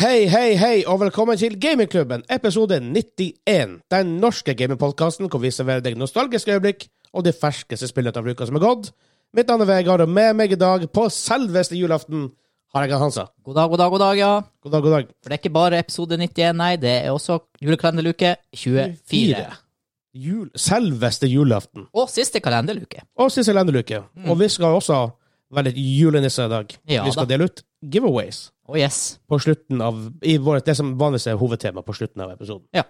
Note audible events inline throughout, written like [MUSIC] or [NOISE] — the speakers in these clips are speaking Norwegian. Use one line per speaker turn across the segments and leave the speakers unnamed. Hei, hei, hei, og velkommen til Gamingklubben, episode 91. Den norske gamingpodkasten hvor vi serverer deg nostalgiske øyeblikk og de ferskeste spillene av uka som er gått. Mitt navn er Vegard, og med meg i dag på selveste julaften har jeg Hansa.
God dag, god dag, god dag, ja.
God dag, god dag.
For det er ikke bare episode 91, nei, det er også julekalenderluke 24.
Jul, selveste julaften.
Og siste kalenderluke.
Og siste landeluke. Og vi skal også være litt julenisse i dag.
Mm. Ja
vi skal
da.
dele ut giveaways
Å Oh, yes.
på slutten av i vår, Det som vanligvis er hovedtema på slutten av episoden.
Ja.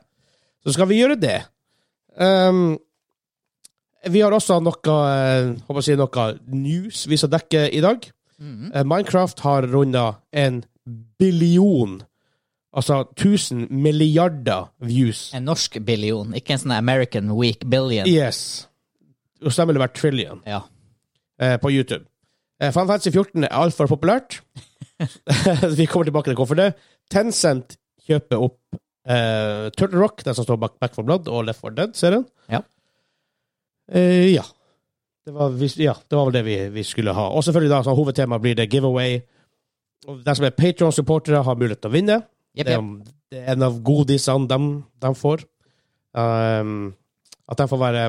Så skal vi gjøre det. Ehm, vi har også noe, eh, håper jeg å si, noe news vi skal dekke i dag.
Mhm.
Eh, Minecraft har runda en billion, altså 1000 milliarder views.
En norsk billion, ikke en sånn American Week billion.
Yes. Og så vil det være trillion
Ja.
eh, på YouTube. Eh, Final Fantasy 14 er altfor populært. vi kommer tilbake til hvorfor det. Tencent kjøper opp eh, Turtle Rock, den som står bak Back for Blood og Left 4 Dead-serien.
Ja.
Eh, ja. Det var, vis- ja. Det var vel det vi, vi skulle ha. Og selvfølgelig da, så hovedtemaet blir det giveaway. Og De som er Patreon-supportere, har mulighet til å vinne.
Jepp,
Det,
jepp.
er, det er en av godisene de, de får. Um, at de får være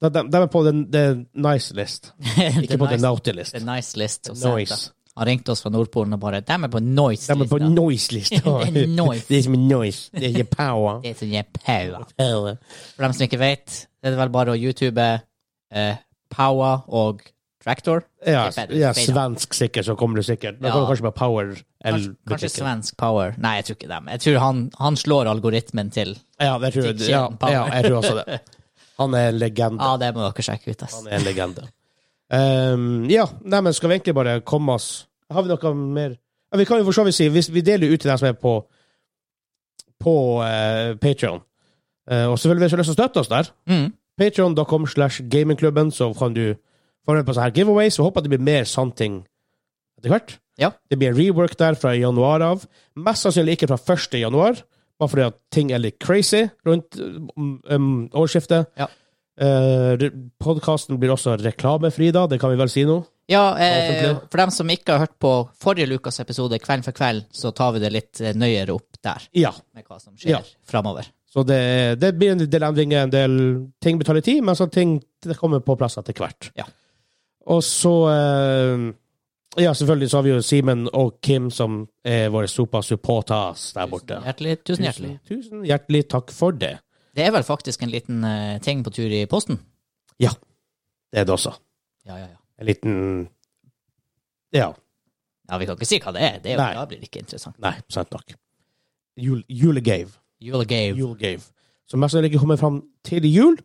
De, de, de er på den, den nice list,
[LAUGHS]
ikke på den
nice,
naughty list.
the nice list. og sent, da.
Noise.
Han ringte oss fra Nordpolen og bare Dem er på
De er på
noise-lista. [LAUGHS]
noise-lista.
Det er noise.
Det er som noise. Det er ikke
[LAUGHS]
power.
Det er sånn jeg power. For dem som ikke vet, det er vel bare å YouTube eh, Power og Tractor.
Ja,
Det er bedre.
ja, svensk sikkert, så kommer du sikkert. Da
Ja.
kommer du kanskje med power
Kanskje, kanskje
L-butikken.
svensk Power. Nei, jeg tror ikke dem. Jeg tror han, han slår algoritmen til.
Ja, jeg tror,
Fiction
ja,
power.
ja, jeg tror også det.
[LAUGHS]
Han er en legende.
Ja, det må dere sjekke ut, ass.
Han er en legende. [LAUGHS] Ehm, ja, nei, men skal vi egentlig bare komme oss Har vi noe mer ja, Vi kan jo for så vidt si hvis Vi deler jo ut til dem som er på På uh, Patrion. og selvfølgelig hvis du har lyst til å støtte oss der,
Mm.
patreon.com slash gamingklubben, så kan du få med på sånne her giveaways. Vi håper at det blir mer sånne ting etter hvert.
Ja.
Det blir en rework der fra januar av. Mest sannsynlig ikke fra 1. januar, bare fordi at ting er litt crazy rundt um, um, årsskiftet.
Ja.
Podkasten blir også reklamefri da, det kan vi vel si nå?
Ja, eh,
Offentlig.
for dem som ikke har hørt på forrige ukas episode, Kveld for kveld, så tar vi det litt eh, nøyere opp der,
Ja.
med hva som skjer
Ja.
framover.
Så det, det blir en del endringer, en del ting betaler tid, men så ting det kommer på plass etter hvert.
Ja.
Og så eh, Ja, selvfølgelig så har vi jo Simen og Kim, som er våre sopa-supporters der borte.
Tusen hjertelig, tusen hjertelig.
Tusen, tusen hjertelig takk for det.
Det er vel faktisk en liten eh, ting på tur i posten?
Det er det også.
Ja, ja, ja.
En liten Ja.
Ja, Vi kan ikke si hva det er, det er jo,
Nei.
da blir det ikke interessant.
Nei, sant nok. Jul, julegave.
Julegave.
Julegave. Som mest sannsynlig ikke kommer fram til jul,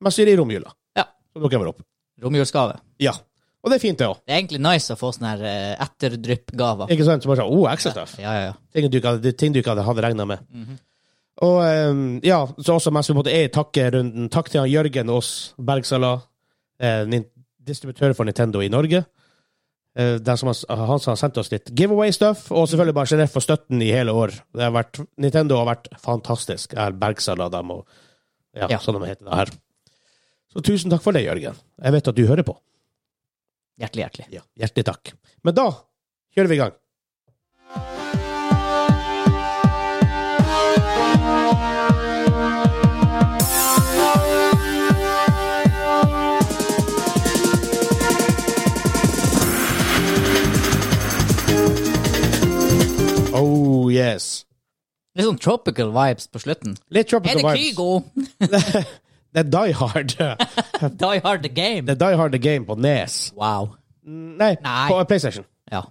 men så er det i romjula.
Ja.
Så dukker den opp.
Romjulsgave.
Ja. Og det er fint, det òg.
Det er egentlig nice å få sånne her eh, etterdryppgaver.
Ikke sant? Så bare sånn, oh, extra stuff.
Ja, ja, ja.
Ting du ikke hadde, ting du ikke hadde, hadde regna med. Og eh, ja, så også mens vi måtte er i takkerunden, takk til han Jørgen Aas Bergsala, eh, nin- distributør for Nintendo i Norge. Eh, den som har, han som har sendt oss litt giveaway-stuff, og selvfølgelig bare generelt for støtten i hele år. Det har vært, Nintendo har vært fantastisk. Er Bergsala dem, og ja,
Ja.
sånn de heter det her. Så tusen takk for det, Jørgen. Jeg vet at du hører på.
Hjertelig, hjertelig.
Ja, hjertelig takk. Men da kjører vi i gang. Oh yes.
Litt sånn tropical vibes på slutten.
Litt
Er det
tropical vibes.
Kygo?
[LAUGHS] Det er Die Hard. [LAUGHS] Det
Die Hard The Game?
er Die Hard The Game på Nes.
Wow.
Nei,
Nei.
på PlayStation.
Ja.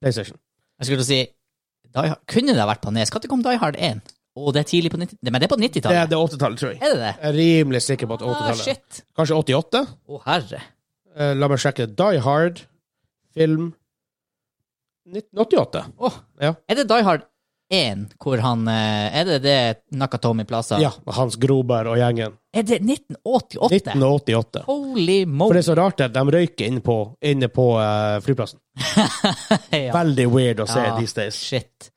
PlayStation.
Jeg skulle til å si Die Hard. Kunne det ha vært på Nes? Når kom Die Hard 1? Å, det er tidlig på 90... Men det er på
Det er
90-tallet?
det er 80-tallet, tror jeg.
Er det det?
Jeg er rimelig sikker på at
Ah,
80-tallet.
shit.
Kanskje 88?
Å, herre.
Eh, la meg sjekke. Die Hard, film 1988.
Åh.
Ja.
Er det Die Hard 1 hvor han eh, Er det det Nakatomi Plaza?
Ja, Hans Groberg og gjengen.
Er det 1988?
1988.
Holy
For
moly.
det er så rart at de røyker inne på, inne på eh, flyplassen.
[LAUGHS] Ja.
Veldig weird å se
Ja.
these days.
Shit.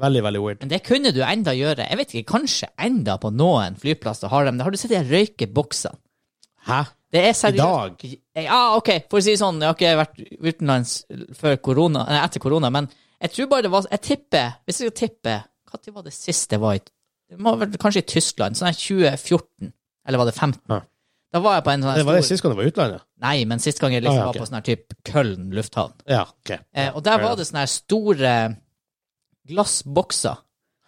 Veldig, veldig weird.
Men det kunne du enda gjøre. Jeg vet ikke, kanskje enda på noen flyplasser har de det. Har du sett de røykeboksene?
Hæ?
Det er seriøst.
dag?
Ja, ok, for å si det sånn, jeg har ikke vært utenlands før korona, nei, etter korona, men Jeg tror bare det var Jeg tipper, hvis jeg skal tippe Når var det sist det var i Det må vel kanskje i Tyskland, sånn her 2014. Eller var det 15?
Ja.
Da var jeg på en sånn her
Det var det
stor
sist gang det var i utlandet?
Nei, men sist gang jeg
Ah,
liksom
ja, ok.
var på sånn her type Køln lufthavn.
Ja, ok.
Eh, og der var det sånne her store eh, glassbokser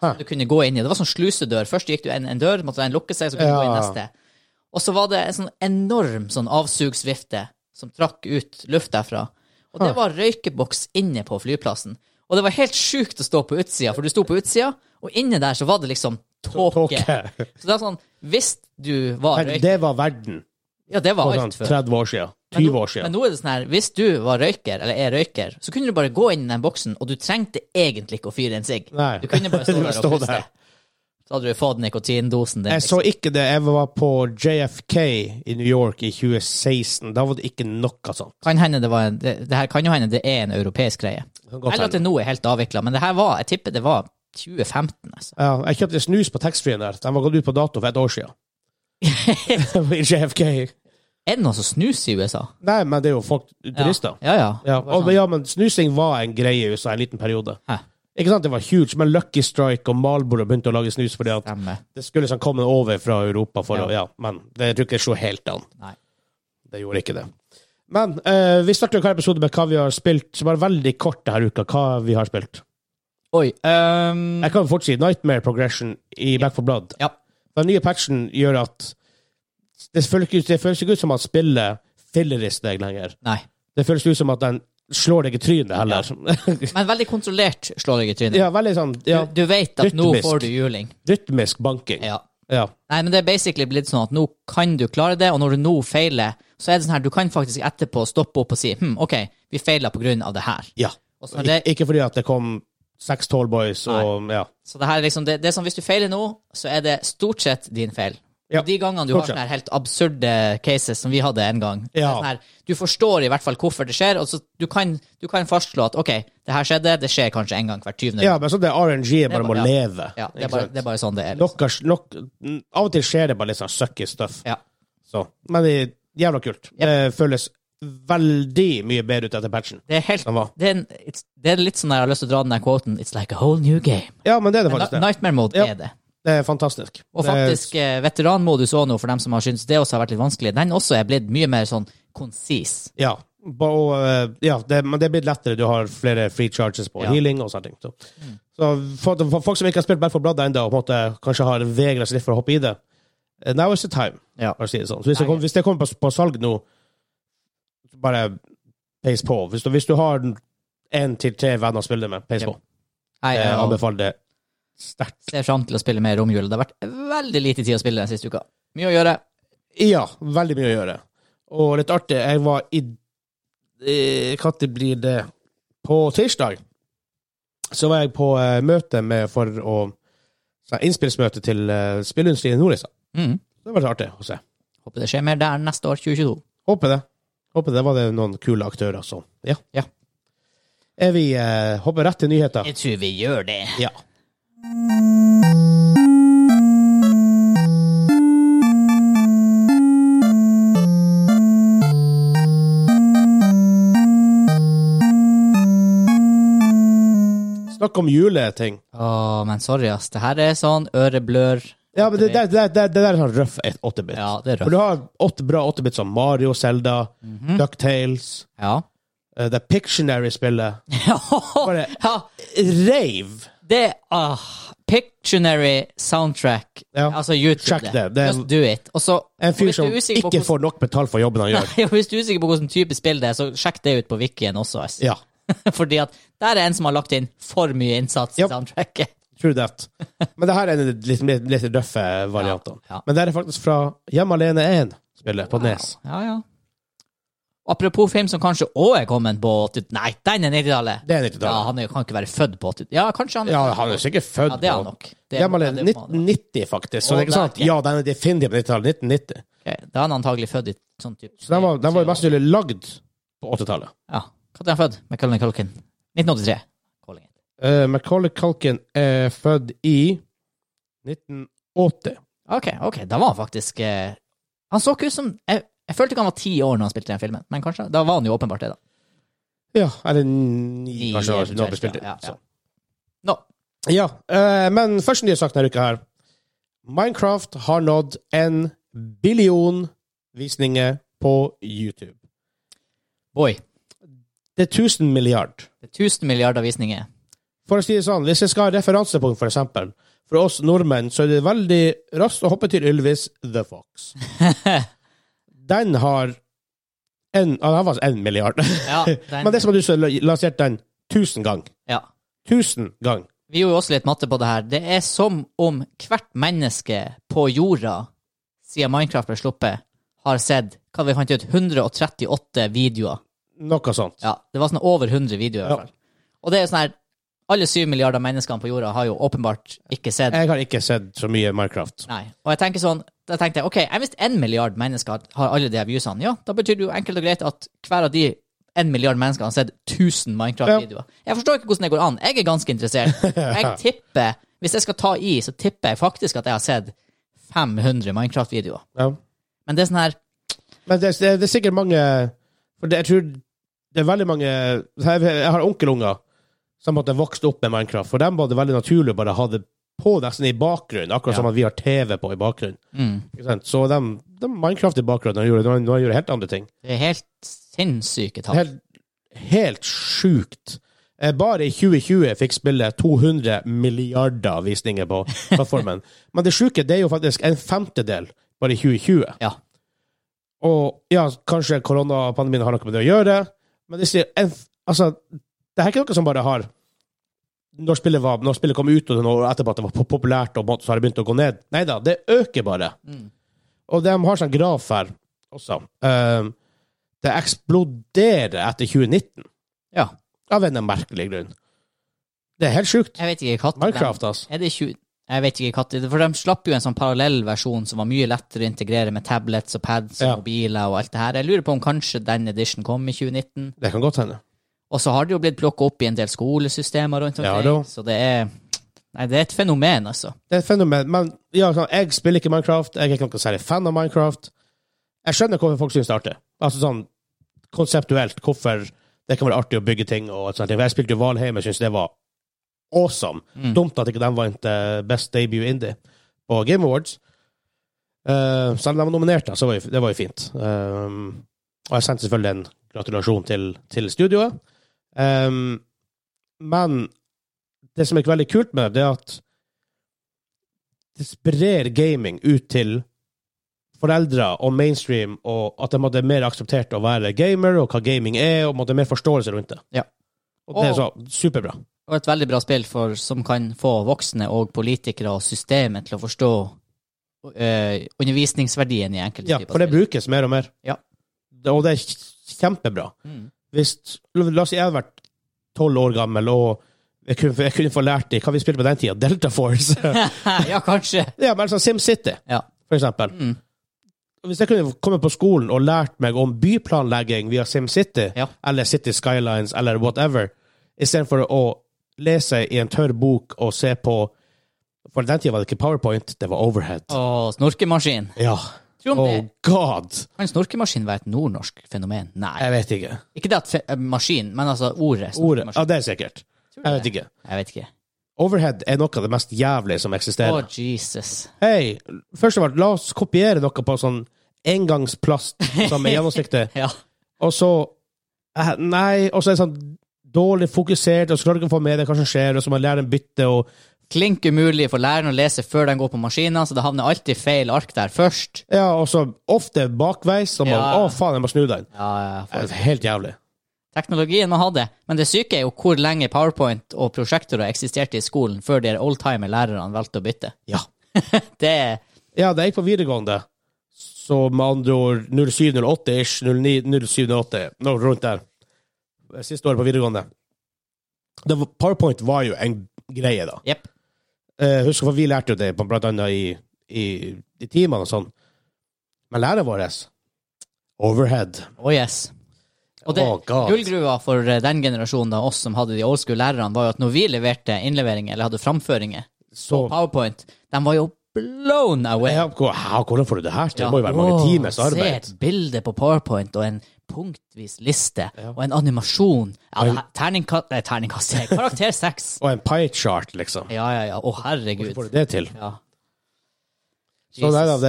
Hæ.
som du kunne gå inn i. Det var sånn slusedør. Først gikk du en, en dør, måtte den lukke seg, så kunne du gå inn
Ja.
neste. Og så var det en sånn enorm sånn avsugsvifte som trakk ut luft derfra. Og det
Hæ.
var røykeboks inne på flyplassen. Og det var helt sjukt å stå på utsida, for du sto på utsida, og inne der så var det liksom tåke.
Tåke.
Så det var sånn, hvis du var
Men
røyk...
Det var verden
Ja, det var
for
alt
sånn
før.
30 år siden.
Men nå-
20 år
Men
siden.
nå er det sånn her, hvis du var røyker, eller er røyker, så kunne du bare gå inn i den boksen, og du trengte egentlig ikke å fyre en sigg.
Nei.
Du kunne bare stå
[LAUGHS] Du
der og
stå
puste.
der.
Så hadde du fått nikotindosen din.
Jeg så
liksom.
ikke det. Jeg var på JFK i New York i 2016. Da var det ikke noe sånt.
Kan hende det var en, det, det her kan jo hende det er en europeisk greie.
Godt
Eller at det
hende.
nå er helt avvikla, men det her var, jeg tipper det var 2015, altså.
Ja, jeg kjøpte snus på taxfree-en der. Den var gått ut på dato for et år
[LAUGHS]
siden. I JFK.
Er det noen som snuser i USA?
Nei, men det er jo folk turister.
Ja, ja.
Ja.
Bare
Og,
sånn.
ja, men snusing var en greie i USA en liten periode.
Hæ.
Ikke sant, det var huge, men Lucky Strike og Marlboro begynte å lage snus fordi at
Stemme.
det skulle liksom komme over fra Europa for
Ja.
å Ja, men det jeg tror ikke det slo helt an.
Nei.
Det gjorde ikke det. Men eh, vi starter hver episode med hva vi har spilt, så bare veldig kort denne uka, hva vi har spilt.
Oi. ehm,
Jeg kan fort si Nightmare Progression i Back for Blood.
Ja.
Den nye patchen gjør at det føles, ikke- det føles ikke ut som at spillet filler i deg lenger.
nei.
Det føles ut som at den slår deg i trynet heller.
Men veldig kontrollert slår jeg i
[LAUGHS]
trynet.
ja, veldig sånn ja,
Du, du vet at nå
Rytmisk.
får du juling.
rytmisk banking.
Ja.
Ja.
Nei, men det er basically blitt sånn at nå kan du klare det, og når du nå feiler, så er det sånn her, du kan faktisk etterpå stoppe opp og si hm, OK, vi feiler på grunn av det her.
ja.
Og så, det,
Ik ikke fordi at det kom seks tallboys og ja.
så det her er liksom, det, det er sånn hvis du feiler nå, så er det stort sett din feil.
Ja,
Og de gangene du
stort
har
sett.
sånne her helt absurde cases som vi hadde en gang, det er
Ja.
sånn her, du forstår i hvert fall hvorfor det skjer, og så du kan, du kan fastslå at OK, det her skjedde, det skjer kanskje en gang hvert 20.
ja, men sånn det RNG er bare om
Det er
å
bare- ja.
leve.
Ja, det,
ikke
er bare,
sant?
det er bare sånn det er.
Nok, er- nok, av og til skjer det bare litt sånn sucky stuff.
Ja.
Så. Men det er jævla kult. Det føles veldig mye bedre ut etter patchen.
Det er helt
Den var.
det er, en, it's, det er litt sånn jeg har lyst til å dra den der quoten It's like a whole new game.
Ja, men det er det faktisk. Det,
Nightmare mode
Ja.
er det.
det er fantastisk.
Og faktisk, eh, veteranmodus òg nå, for dem som har syntes det også har vært litt vanskelig, den også er blitt mye mer sånn konsis.
Det, ja. Ba- Og, eh, ja, det, men det er blitt lettere. Du har flere free charges på
Ja. Mm.
healing og sånne ting. Så, så for, for folk som ikke har spilt Back for Blood ennå, og på en måte kanskje har vegra seg litt for å hoppe i det, eh, now is the time.
Ja.
for å si det sånn. Så hvis, det kom, hvis det kommer på, på salg nå, så bare peis på. Hvis du, hvis du har én til tre venner å spille det med, peis
Ja.
på.
Jeg,
Jeg
jeg
anbefaler det sterkt.
eh, ser fram til å spille mer romjul. Det har vært veldig lite tid å spille den siste uka. Mye å gjøre.
Ja, veldig mye å gjøre. Og litt artig, jeg var i Når blir det? På tirsdag så var jeg på eh, møte med for å så her, Innspillsmøte til eh, spillindustrien i Nordreisa.
Mm.
Det var litt artig å se.
Håper det skjer mer der neste år, 2022.
Håper det. Håper det var det noen kule aktører som Ja.
Ja.
Er vi eh, hopper rett til nyheter?
Jeg tror vi gjør det.
Ja. Snakk om juleting.
Å, men sorry, ass. Det her er sånn øreblør.
Ja, men det, det, det, det, det der er sånn røff Mhm. 8-bit.
Ja, det er
For du
røft.
har åtte bra 8-bit som Mario, Zelda, DuckTales,
Ja.
eh, The Pictionary-spillet. Bare
ja.
rave.
Det ah, Pictionary soundtrack.
Ja.
Altså YouTube.
Sjekk det. Det er-
Just do it. Og så
En fyr
hvis du
som
er usikker på
ikke
hvordan-
får nok betalt for jobben han
[LAUGHS]
gjør.
Nei, og hvis du er usikker på hvilken type spill det er, så sjekk det ut på wikien også. ass.
Ja,
[LAUGHS] Fordi at der er en som har lagt inn for mye innsats i
Japp.
soundtracket.
true that. Men det her er en litt, litt, litt røffe variant.
Ja, ja.
Men det her er faktisk fra Hjemme alene 1-spillet på Nes.
Ja, ja. Apropos film som kanskje òg er kommet på 80... Nei, den er 90-tallet!
Det er
Ja,
90-tallet.
han er, jo- kan ikke være født på 80... Ja, kanskje han
Ja, han er jo sikkert født
Ja, det er han
på-
nok. Det er-
Hjemme
ja,
alene
det må han nok.
1990, faktisk. Så
Å,
det er ikke sant?
der,
Ja, den er definitivt på 90-tallet. 1990.
Ok, Da er han antagelig født i sånn type
Så den var, den var jo mest sannsynlig lagd på 80-tallet.
Ja. Når er han født? McCullen Culkin. 1983. Calling it.
Uh, Macaulay Culkin er født i 1980.
OK, ok, da var han faktisk eh... Han så ikke ut som jeg, jeg følte ikke han var ti år når han spilte den filmen, men kanskje Da var han jo åpenbart det, da.
Ja, eller ni,
Ni,
kanskje,
eventuelt,
når vi spilte.
ja, ja, ja.
Så.
Nå.
Ja, eh, men første nye sak denne uka her. Minecraft har nådd en billion visninger på YouTube.
Boy.
Det er 1000 milliard.
Det er 1000 milliarder visninger.
For å si det sånn, hvis jeg skal ha referansepunkt, for eksempel, for oss nordmenn, så er det veldig raskt å hoppe til Ylvis The
[LAUGHS]
Fox. Den har en, ja, den var altså en milliard.
Ja, den,
[LAUGHS] Men det er som at du så lanserte den tusen gang.
ja.
Tusen gang.
Vi gjorde jo også litt matte på det her. Det er som om hvert menneske på jorda, siden Minecraft ble sluppet, har sett hva vi fant ut, 138 videoer.
Noe sånt.
Ja, det var sånn over 100 videoer i
Ja.
hvert fall. Og det er jo sånn her, alle syv milliarder menneskene på jorda har jo åpenbart ikke sett
Jeg har ikke sett så mye Minecraft.
Nei. Og jeg tenker sånn, da tenkte jeg, ok, jeg visste en milliard mennesker har- har alle de her viewsene. Ja, da betyr det jo enkelt og greit at hver av de en milliard mennesker har sett 1000 Minecraft-videoer. Jeg forstår ikke hvordan det går an. Jeg er ganske interessert.
[LAUGHS]
Jeg tipper, hvis jeg skal ta i, så tipper jeg faktisk at jeg har sett 500 Minecraft-videoer.
Ja.
Men det er sånn her,
Men det, det, det er sikkert mange For det, jeg tror det er veldig mange Jeg, jeg har onkelunger som måtte vokst opp med Minecraft. For dem var det veldig naturlig å bare ha det på nesten i bakgrunnen, akkurat som at vi har TV på i bakgrunnen.
mm,
Ikke sant? Så de, de Minecraft i bakgrunnen og gjorde, de, de gjorde helt andre ting.
det er helt sinnssyke tall.
Helt, helt sjukt. Eh, Bare i 2020 fikk spillet 200 milliarder visninger på plattformen. Men det sjuke det er jo faktisk en femtedel bare i 2020.
Ja.
Og ja, kanskje koronapandemien har noe med det å gjøre, men det sier en, altså, det her er ikke noe som bare har når spillet, var, når spillet kom ut, og det nå- etterpå at det var pop- populært, og på en måte så har det begynt å gå ned. Nei da, det øker bare.
Mm.
Og de har sånn graf her også. Ehm, det eksploderer etter 2019,
ja.
av en merkelig grunn. Det er helt sjukt.
Jeg vet ikke hva
Minecraft, altså.
Er det 20 Jeg vet ikke hva For de slapp jo en sånn parallell versjon som var mye lettere å integrere med tablets og pads og
Ja.
mobiler og alt det her. Jeg lurer på om kanskje den edition kom i 2019.
Det kan godt hende.
Og så har det jo blitt plukka opp i en del skolesystemer rundt
Ja,
omkring.
da.
så det er Nei, det er et fenomen, altså.
Det er et fenomen. Men ja, sånn, jeg spiller ikke Minecraft. Jeg er ikke noen særlig fan av Minecraft. Jeg skjønner hvorfor folk syns det er artig. Altså sånn konseptuelt, hvorfor det kan være artig å bygge ting og sånt. Jeg spilte jo Valheim, jeg syns det var awesome. Dumt at ikke den vant eh, Best Debut Indie på Game Awards. Eh, selv om de var nominert, da, så var jo, det var jo fint. Um, og jeg sendte selvfølgelig en gratulasjon til, til studioet. Um, men det som er veldig kult med det, det er at det sprer gaming ut til foreldre og mainstream, og at det måtte er mer akseptert å være gamer, og hva gaming er, og måtte mer forståelse rundt det.
Ja.
Og det er så superbra.
Og et veldig bra spill for, som kan få voksne og politikere og systemet til å forstå eh, undervisningsverdien i enkelte
Ja,
typer
for det
spill.
brukes mer og mer.
Ja.
Det- Og det er kjempebra.
Mm.
Hvis, la oss si jeg hadde vært tolv år gammel, og jeg kunne, jeg kunne få lært det, hva vi spilte på den tida, Delta
[LAUGHS]
Force.
ja, kanskje.
ja, men altså SimCity,
Ja.
for eksempel.
Mm.
Hvis jeg kunne kommet på skolen og lært meg om byplanlegging via SimCity,
Ja.
eller City Skylines, eller whatever, istedenfor å lese i en tørr bok og se på For den tida var det ikke PowerPoint, det var overhead.
Og snorkemaskin.
Ja.
Tror du om
Oh
det
god!
Kan snorkemaskin være et nordnorsk fenomen? Nei.
Jeg vet ikke.
Ikke det at fe eh, maskin, men altså ordet
Ordet.
snorkemaskin.
Ja, det er sikkert.
Tror du
Jeg vet
det?
ikke.
Jeg vet ikke.
Overhead er noe av det mest jævlige som
Å,
eksisterer.
Jesus.
Hei, først av alt, la oss kopiere noe på sånn engangsplast som er
[LAUGHS]
gjennomsiktig,
Ja.
og så eh, Nei, og så er det sånn dårlig fokusert, og så klarer du ikke å få med deg hva som skjer, og så må man lære en bytte, og
Klink umulig for læreren å lese før den går på maskinen, så det havner alltid feil ark der først.
Ja, og så ofte bakveis, og man
Ja.
Å, faen, jeg må snu den.
Ja, ja,
Det
for-
er Helt jævlig.
Teknologien man hadde, men det syke er jo hvor lenge PowerPoint og prosjektorer eksisterte i skolen før de oldtimer lærerne valgte å bytte.
Ja.
Det er
Ja, da jeg gikk på videregående, så med andre ord 07-08-ish, 09-07-08, noe rundt der. Siste året på videregående. Det var, PowerPoint var jo en greie, da.
Jepp.
Eh, husker for vi lærte jo det, på- blant annet i, i, i timene og sånn. Men læreren vår Overhead.
Oh yes. Og det,
Å, God.
Gullgruva for eh, den generasjonen av oss som hadde de old school-lærerne, var jo at når vi leverte innleveringer eller hadde framføringer
Så
på PowerPoint, de var jo blown away.
ja, hvor- hæ, Hvordan får du det her til?
Ja.
Det må jo være mange
Åh,
times arbeid.
Se et bilde på PowerPoint og en punktvis liste
Ja.
og en animasjon ja,
Oi.
det her, terningka, Nei, terningkast sier jeg. Karakter 6.
Og en pie chart, liksom.
Ja, ja, ja. Å, herregud.
Hvordan får du det til?
Ja.
Så nei da,
Jesus.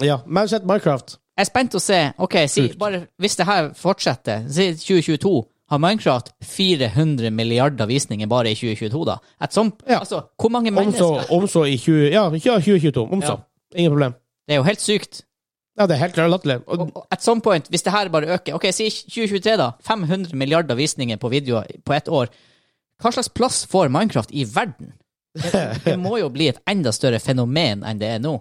det Ja, Mousette Minecraft.
Jeg er spent å se. Ok, si, bare, Hvis det her fortsetter, si 2022 har Minecraft 400 milliarder visninger bare i 2022, da? Et sånt,
Ja.
altså, hvor mange
Om så,
mennesker
om så i 20, ja, ja, 2022. Om så. Ingen problem.
Det er jo helt sykt.
Ja, det er helt klart latterlig. Og-
Og og at some point, hvis det her bare øker Ok, si 2023, da. 500 milliarder visninger på videoer på ett år. Hva slags plass får Minecraft i verden? Det, det må jo bli et enda større fenomen enn det er nå.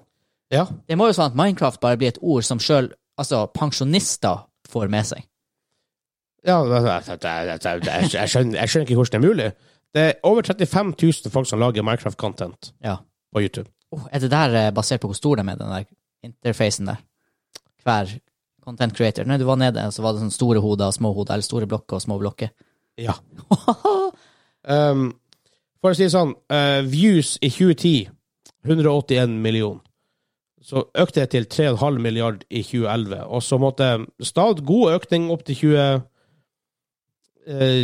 Ja.
Det må jo sånn at Minecraft bare blir et ord som sjøl altså, pensjonister får med seg.
ja jeg, jeg, jeg, jeg, jeg, skjønner, jeg skjønner ikke hvordan det er mulig. Det er over 35 000 folk som lager Minecraft-content
Ja.
på YouTube.
Oh, er det der eh, basert på hvor stor de er, den der interfacen der? Hver content creator. Nei, du var nede, og så var det sånn store hoder og små hoder, eller store blokker og små blokker.
Ja. Um, for å si det sånn, eh, views i 2010 181 million. Så økte det til 3,5 milliard i 2011. Og så måtte stadig god økning opp til 20... Eh,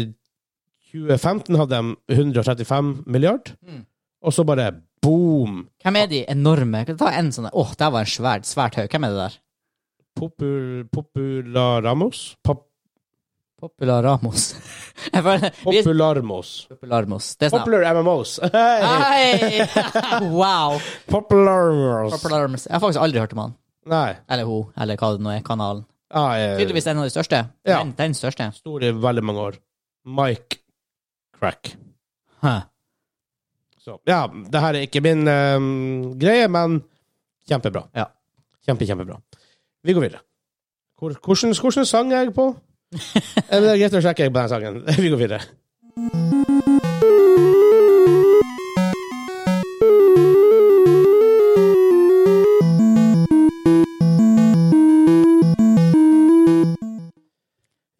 2015 hadde de 135 milliard.
Mm.
Og så bare boom!
Hvem er de enorme? Kan du ta en sånn der? Åh, der var en svært, svært høy. Hvem er det der?
Popul, popularamos? Pap,
Popular Ramos. [LAUGHS] Jeg føler vi er
popularmos.
Popularmos. Det er sånn
Popular MMOs. [LAUGHS] Hey.
Hei! [LAUGHS] Wow!
Popularmos.
Popular Ramos. Jeg har faktisk aldri hørt om han.
Nei.
Eller hun, eller hva det nå er. Kanalen.
Ah, eh,
Tydeligvis en av de største.
Ja.
Den, den største.
stor i veldig mange år. Mike Crack.
Hæ.
Så, ja, det her er ikke min ehm, greie, men kjempebra.
Ja.
Kjempe, kjempebra. Vi går videre. Hvor, hvordan, hvordan sang er jeg på? Eh, det er greit å sjekke på den sangen. [LAUGHS] Vi går videre.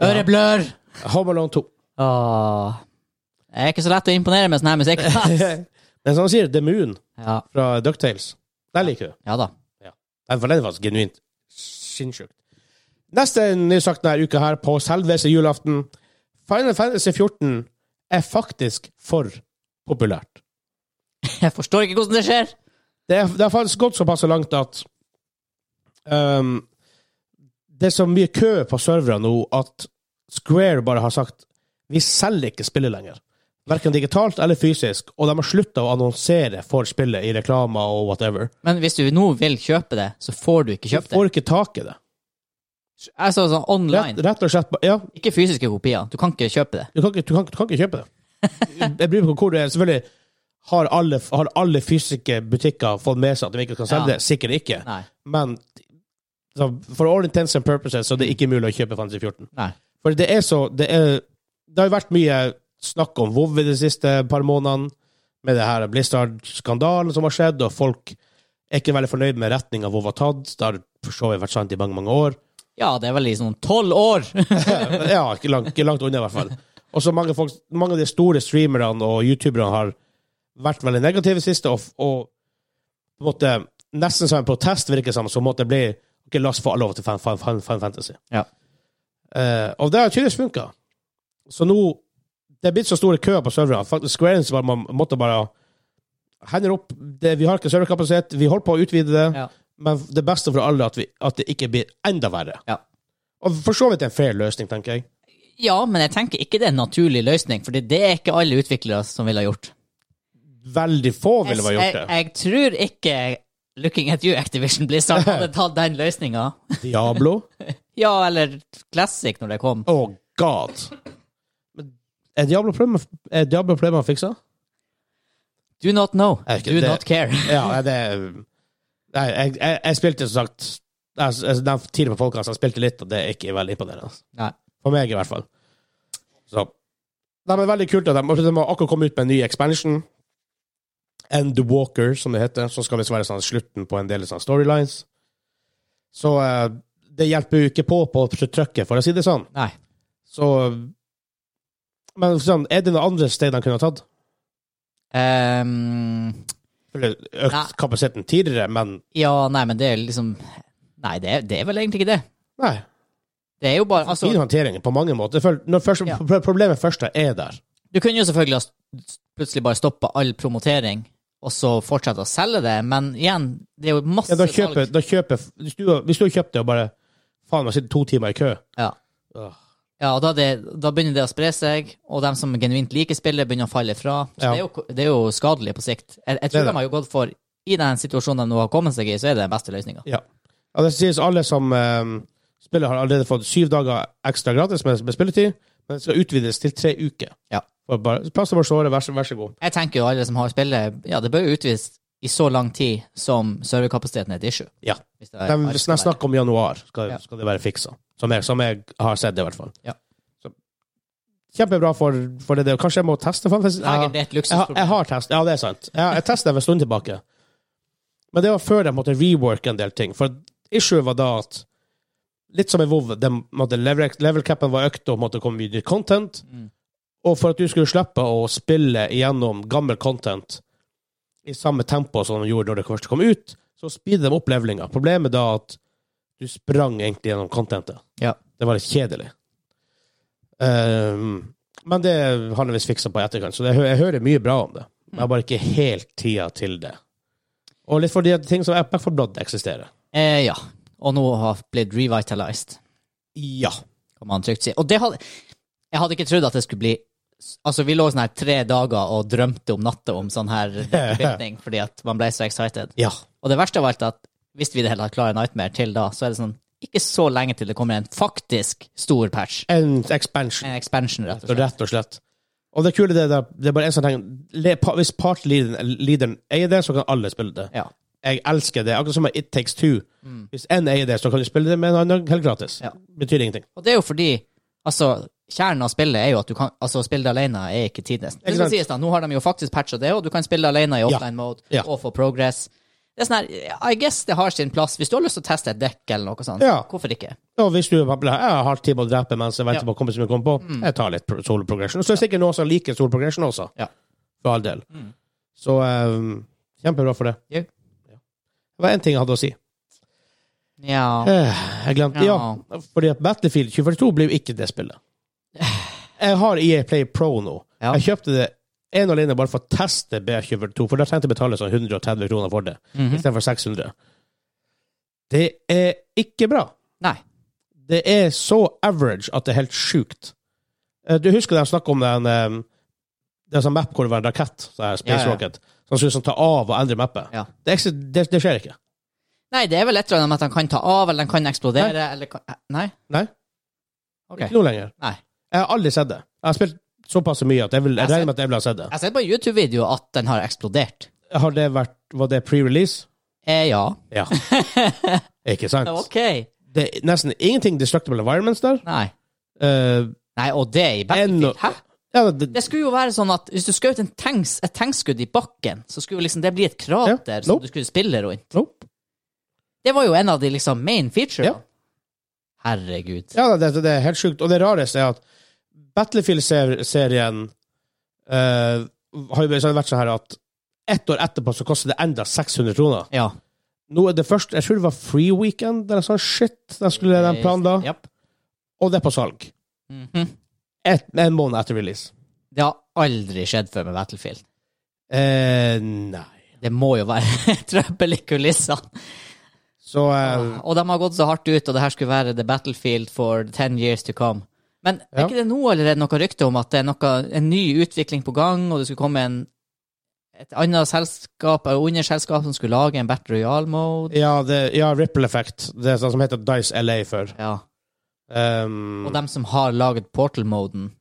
Øreblør!
Home Alone 2.
Åh. Jeg er ikke så lett å imponere med sånn her [LAUGHS] musikk.
[LAUGHS] Men sånn som han sier, The Moon
Ja,
fra DuckTales. Den liker du.
ja da.
Den for den er faktisk genuint sinnssykt. Neste nysak denne uka her, på selveste julaften, Final Fantasy 14 er faktisk for populært.
Jeg forstår ikke hvordan det skjer.
Det er, det er faktisk gått såpass langt at ehm, Det er så mye kø på serverne nå at Square bare har sagt vi selger ikke spillet lenger. Verken digitalt eller fysisk. Og de har slutta å annonsere for spillet i reklamer og whatever.
Men hvis du nå vil kjøpe det, så får du ikke
De
kjøpt det.
får ikke tak i det.
Altså sånn
Rett,
online.
rett og slett ba- Ja,
Ikke fysiske kopier. Du kan ikke kjøpe det.
Du kan ikke, du kan, ikke- du kan ikke kjøpe det. Jeg bryr meg ikke hvor det er. Selvfølgelig har alle, har alle fysiske butikker fått med seg at de ikke kan selge
Ja.
det. Sikkert ikke.
Nei.
Men så, for all intents and purposes så er
Mm.
det ikke mulig å kjøpe Fantasy 14.
Nei.
For det er så Det, er, det har jo vært mye snakk om WoW i de siste par månedene, med det her Blizzard-skandalen som har skjedd, og folk er ikke veldig fornøyd med retninga WoW har tatt. Det har for så vidt vært sant i mange, mange år.
Ja, det er vel i sånn tolv år! [LAUGHS]
ja, ikke langt, ikke langt unna, i hvert fall. Og så mange, folk- mange av de store streamerne og youtuberne har vært veldig negative siste, og, og på en måte, nesten som en protest, virker det som, så måtte det bli ok, la oss få lov til fan, fan, fan, fan fantasy.
Ja.
Eh, og det har tydeligvis funka. Så nå Det er blitt så store køer på serverne. Faktisk Square Enix bare, man måtte bare hender opp. Det, vi har ikke serverkapasitet. Vi holder på å utvide det.
Ja.
Men det beste for alle er at, vi, at det ikke blir enda verre.
Ja.
Og for så vidt en fair løsning, tenker jeg.
Ja, men jeg tenker ikke det er en naturlig løsning, for det er ikke alle utviklere som ville ha gjort.
Veldig få ville ha gjort
Jeg,
det.
jeg tror ikke Looking at you, Activision Blizzard, hadde tatt den løsninga.
Diablo.
Ja, eller Classic, når det kom.
[LAUGHS] Oh god. Men er Diablo-problemet er Diablo-problemet fiksa?
Do not know.
Er ikke
Do
det-
not care.
Ja, er det Nei, jeg, jeg, jeg spilte som sagt jeg, jeg, den Tidligere på podkast, jeg spilte litt, og det er ikke veldig imponerende. altså.
Nei.
For meg, i hvert fall. Så Nei, men veldig kult at de, de har akkurat kommet ut med en ny expansion. End the Walker, som det heter. Som skal visst være sånn, slutten på en del sånne storylines. Så eh, det hjelper jo ikke på på trykket, for å si det sånn.
Nei.
Så Men sånn, er det noen andre steder de kunne ha tatt?
Ehm,
Eller
Nei.
økt kapasiteten tidligere, men
ja, nei, men det er liksom Nei, det er, det er vel egentlig ikke det.
nei.
Det er jo bare altså,
Fin håndtering på mange måter. Føl- Når først,
Ja.
pro- Problemet først er der.
Du kunne jo selvfølgelig ha s- plutselig bare stoppa all promotering, og så fortsette å selge det, men igjen, det er jo masse
Ja, da kjøper, da kjøper Hvis du hvis du har kjøpt det og bare Faen, jeg sitter to timer i kø.
Ja.
Åh.
Ja, og da, det, da begynner det å spre seg, og de som genuint liker spillet, begynner å falle fra. Så
Ja.
det, er jo, det er jo skadelig på sikt. Jeg, jeg
Det er
tror
det.
de har jo gått for I den situasjonen de nå har kommet seg i, så er det den beste løsninga.
Ja. ja. Det sies alle som eh, spiller, har allerede fått syv dager ekstra gratis med, med spilletid, men det skal utvides til tre uker.
Ja.
For Bare, plass til vår såre, vær så, vær så god.
Jeg tenker jo alle som har spillet, ja, det bør jo utvides i så lang tid som serverkapasiteten er et issue.
Ja.
Hvis
De,
det er-
hvis de snakker om januar, skal,
Ja.
skal det være fiksa. Som jeg, som jeg har sett, det, i hvert fall.
Ja.
Så, kjempebra for, for det. der. Kanskje jeg må teste? faen, hvis-
Lager
ja.
det et
Jeg, har- jeg
luksusproblem.
har test, ja det er sant. Jeg, jeg testet det for en stund tilbake. Men det var før de måtte reworke en del ting. For issue var da at Litt som i WoW, de måtte level, level capen var økt og måtte komme mye nytt content.
Mm.
Og for at du skulle slippe å spille igjennom gammel content i samme tempo som de gjorde når det først kom ut, så speeder de opp levelinga. Problemet da at du sprang egentlig gjennom contentet.
Ja.
Det var litt kjedelig. Ehm, men det har de visst fiksa på i etterkant, så det, jeg hører mye bra om det. Men Jeg har bare ikke helt tida til det. Og litt fordi at ting som Back for Blood eksisterer.
Eh, ja. Og nå har blitt revitalized.
Ja.
kan man trygt si. Og det hadde, jeg hadde ikke trodd at det skulle bli Altså, vi lå sånn her tre dager og drømte om natta om sånn her dekkebytning, fordi at man ble så excited.
Ja.
Og det verste av alt er at hvis vi i det hele tatt klarer Nightmare til da, så er det sånn ikke så lenge til det kommer en faktisk stor patch.
En expansion,
En expansion, rett og slett.
rett og slett. Og det kule det er at det er bare en sånn ting le- pa- Hvis partleaderen leaderen eier det, så kan alle spille det.
Ja. Mm.
Jeg elsker det. Akkurat som med It Takes Two. Hvis én eier det, så kan du spille det med en annen helt gratis.
Ja.
Betyr ingenting.
Og det er jo fordi Altså, kjernen av spillet er jo at du kan Altså, å spille det alene er ikke tidenes. Det skal
sant.
sies da, nå har de jo faktisk patcha det, og du kan spille det alene i offline mode
Ja.
og få progress. Det er sånn her I guess det har sin plass. Hvis du har lyst til å teste et dekk eller noe sånt,
Ja.
hvorfor ikke?
Og hvis du er bare, jeg har halv time å drepe mens jeg venter
Ja. Mm.
på kompisen min kommer på, jeg tar litt pro- solo progression. Og så er det sikkert noen som liker solo progression også.
Ja. Mm.
For all del. Så eh, kjempebra for det.
Jo.
Det var én ting jeg hadde å si.
Ja.
Eh, Jeg glemte ja.
Ja.
fordi at Battlefield 2042 blir jo ikke det spillet. Jeg har EA Play Pro nå.
Ja.
Jeg kjøpte det en og alene bare for å teste B2042, for da trengte jeg betale sånn 130 kroner for det,
Mhm.
istedenfor 600. Det er ikke bra.
Nei.
Det er så average at det er helt sjukt. Eh, Du husker de snakka om den eh, Det er sånn map hvor det var en rakett, så her, Space
Ja, ja.
Rocket, som skulle sånn ta av og endre mappet.
Ja.
Det, eksis- det, det skjer ikke.
Nei, det er vel lettere enn at den kan ta av, eller den kan eksplodere, eller kan Nei?
Nei.
Ok.
Ikke nå lenger.
Nei.
Jeg har aldri sett det. Jeg har spilt såpass mye at jeg, vil,
Jeg
jeg
ser-
regner med at jeg vil ha sett det.
Jeg har sett på YouTube-videoer at den har eksplodert.
Har det vært, Var det pre-release?
Eh, ja. [LAUGHS]
Ja. ikke sant?
OK.
Det er nesten ingenting destructible environments der.
Nei.
Eh,
Nei, og det i
Ennå-
Battlefield. Hæ?
ja, det,
Det skulle jo være sånn at hvis du skjøt en tanks, et tankskudd i bakken, så skulle jo liksom det bli et krater
Ja,
som
nope.
du skulle spille rundt.
nope.
Det var jo en av de liksom main featurene.
Ja.
Herregud.
Ja, det, det er helt sjukt. Og det rareste er at Battlefield-serien eh, har jo så har det vært sånn her at ett år etterpå så koster det enda 600 kroner.
Ja.
Nå er det først, Jeg tror det var Free Weekend eller sånn shit de skulle de planla,
Japp.
og det er på salg.
Mhm.
Et, en måned etter release.
Det har aldri skjedd før med Battlefield.
Eh, nei.
Det må jo være [LAUGHS] trøbbel i kulissene.
Så eh,
Og de har gått så hardt ut, og det her skulle være The Battlefield for ten years to come. Men er
Ja.
ikke det nå allerede noe rykte om at det er noe, en ny utvikling på gang, og det skulle komme en, et annet selskap, eller underselskap, som skulle lage en Battle Royale mode?
ja, det, ja, Ripple Effect. Det er sånn som heter Dice LA før.
Ja.
Um,
Og dem som har laget Portal-moden.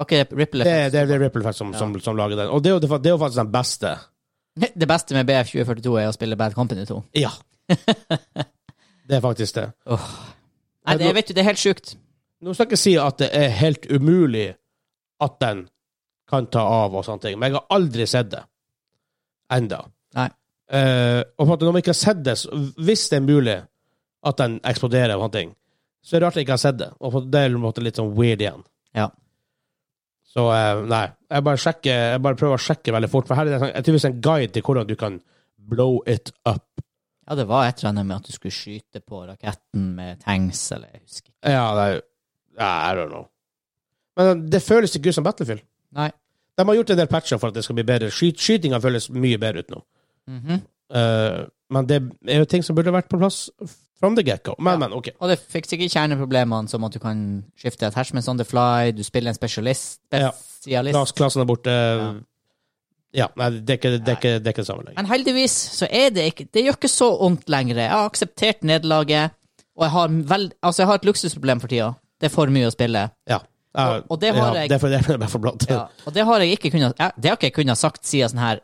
Var ikke det Ripple
det,
Effect?
det, det er Ripple Effect som, som, som lager den. Og det er jo- det er jo faktisk den
[LAUGHS]
beste.
Det, beste med BF2042 er å spille Bad Company 2.
Ja. det er faktisk det.
Nei, det, vet du, det er helt sjukt.
Nå skal jeg ikke si at det er helt umulig at den kan ta av og sånne ting, men jeg har aldri sett det. Enda.
Nei.
Eh, og på en måte, når man ikke har sett det, så- hvis det er mulig at den eksploderer og sånne ting, så er det rart jeg ikke har sett det. Og på- det er på en måte litt sånn weird igjen.
Ja.
Så eh, nei, jeg bare, sjekker, jeg bare prøver å sjekke veldig fort, for her er det en sånn- jeg tror det er en guide til hvordan du kan blow it up.
Ja, det var et eller annet med at du skulle skyte på raketten med tanks, eller jeg husker ikke.
Ja, det er I don't know. Men det føles ikke ut som Battlefield.
Nei.
De har gjort en del patcher for at det skal bli bedre. Skyt, skytinga føles mye bedre ut nå.
Mhm.
Eh, men det er jo ting som burde vært på plass from the get-go. Men, men, OK.
Og det fikser ikke kjerneproblemene, som at du kan skifte attachments on the fly, du spiller en spesialist,
Ja.
spesialist.
Klas, klassen er borte. Ja. nei, det er ikke det, er ikke, det, er ikke det samme lenger.
Men heldigvis så er det ikke Det gjør ikke så vondt lenger. Jeg har akseptert nederlaget, og jeg har, vel, altså jeg har et luksusproblem for tida. Det er for mye å spille.
Ja. Eh,
Og- og det har
ja,
jeg-
Det er for, det er bare for blått.
Ja, og det har jeg ikke kunnet ja, Det har ikke jeg kunnet sagt siden sånn her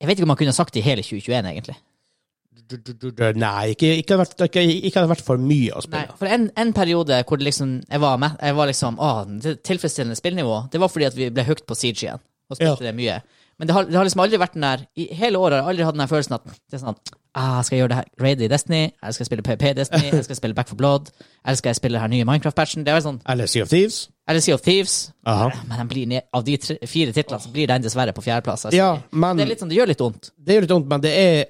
Jeg vet ikke om jeg kunne sagt det i hele 2021, egentlig.
[LAUGHS] Nei, ikke, ikke, hadde vært, ikke, ikke hadde vært for mye å
Nei,
spille.
for en, en periode hvor det liksom jeg var, med, jeg var liksom Å, det- tilfredsstillende spillnivå. Det var fordi at vi ble hooked på Siege igjen, og spilte det mye. Men det har, det har liksom aldri vært den der I hele året har jeg aldri hatt den der følelsen at det er sånn ah, Skal jeg gjøre det her raidet i Destiny? Eller skal jeg spille PP Destiny? Eller skal jeg spille Back for Blood? Eller skal jeg spille den her nye Minecraft-patchen? Det er vel sånn
Eller Sea of Thieves.
Eller Sea of Thieves.
Aha.
Men den blir ned, av de tre, fire titlene så blir den dessverre på fjerdeplass. Altså.
Ja, men
Det er litt sånn, det gjør litt vondt.
litt vondt, men det er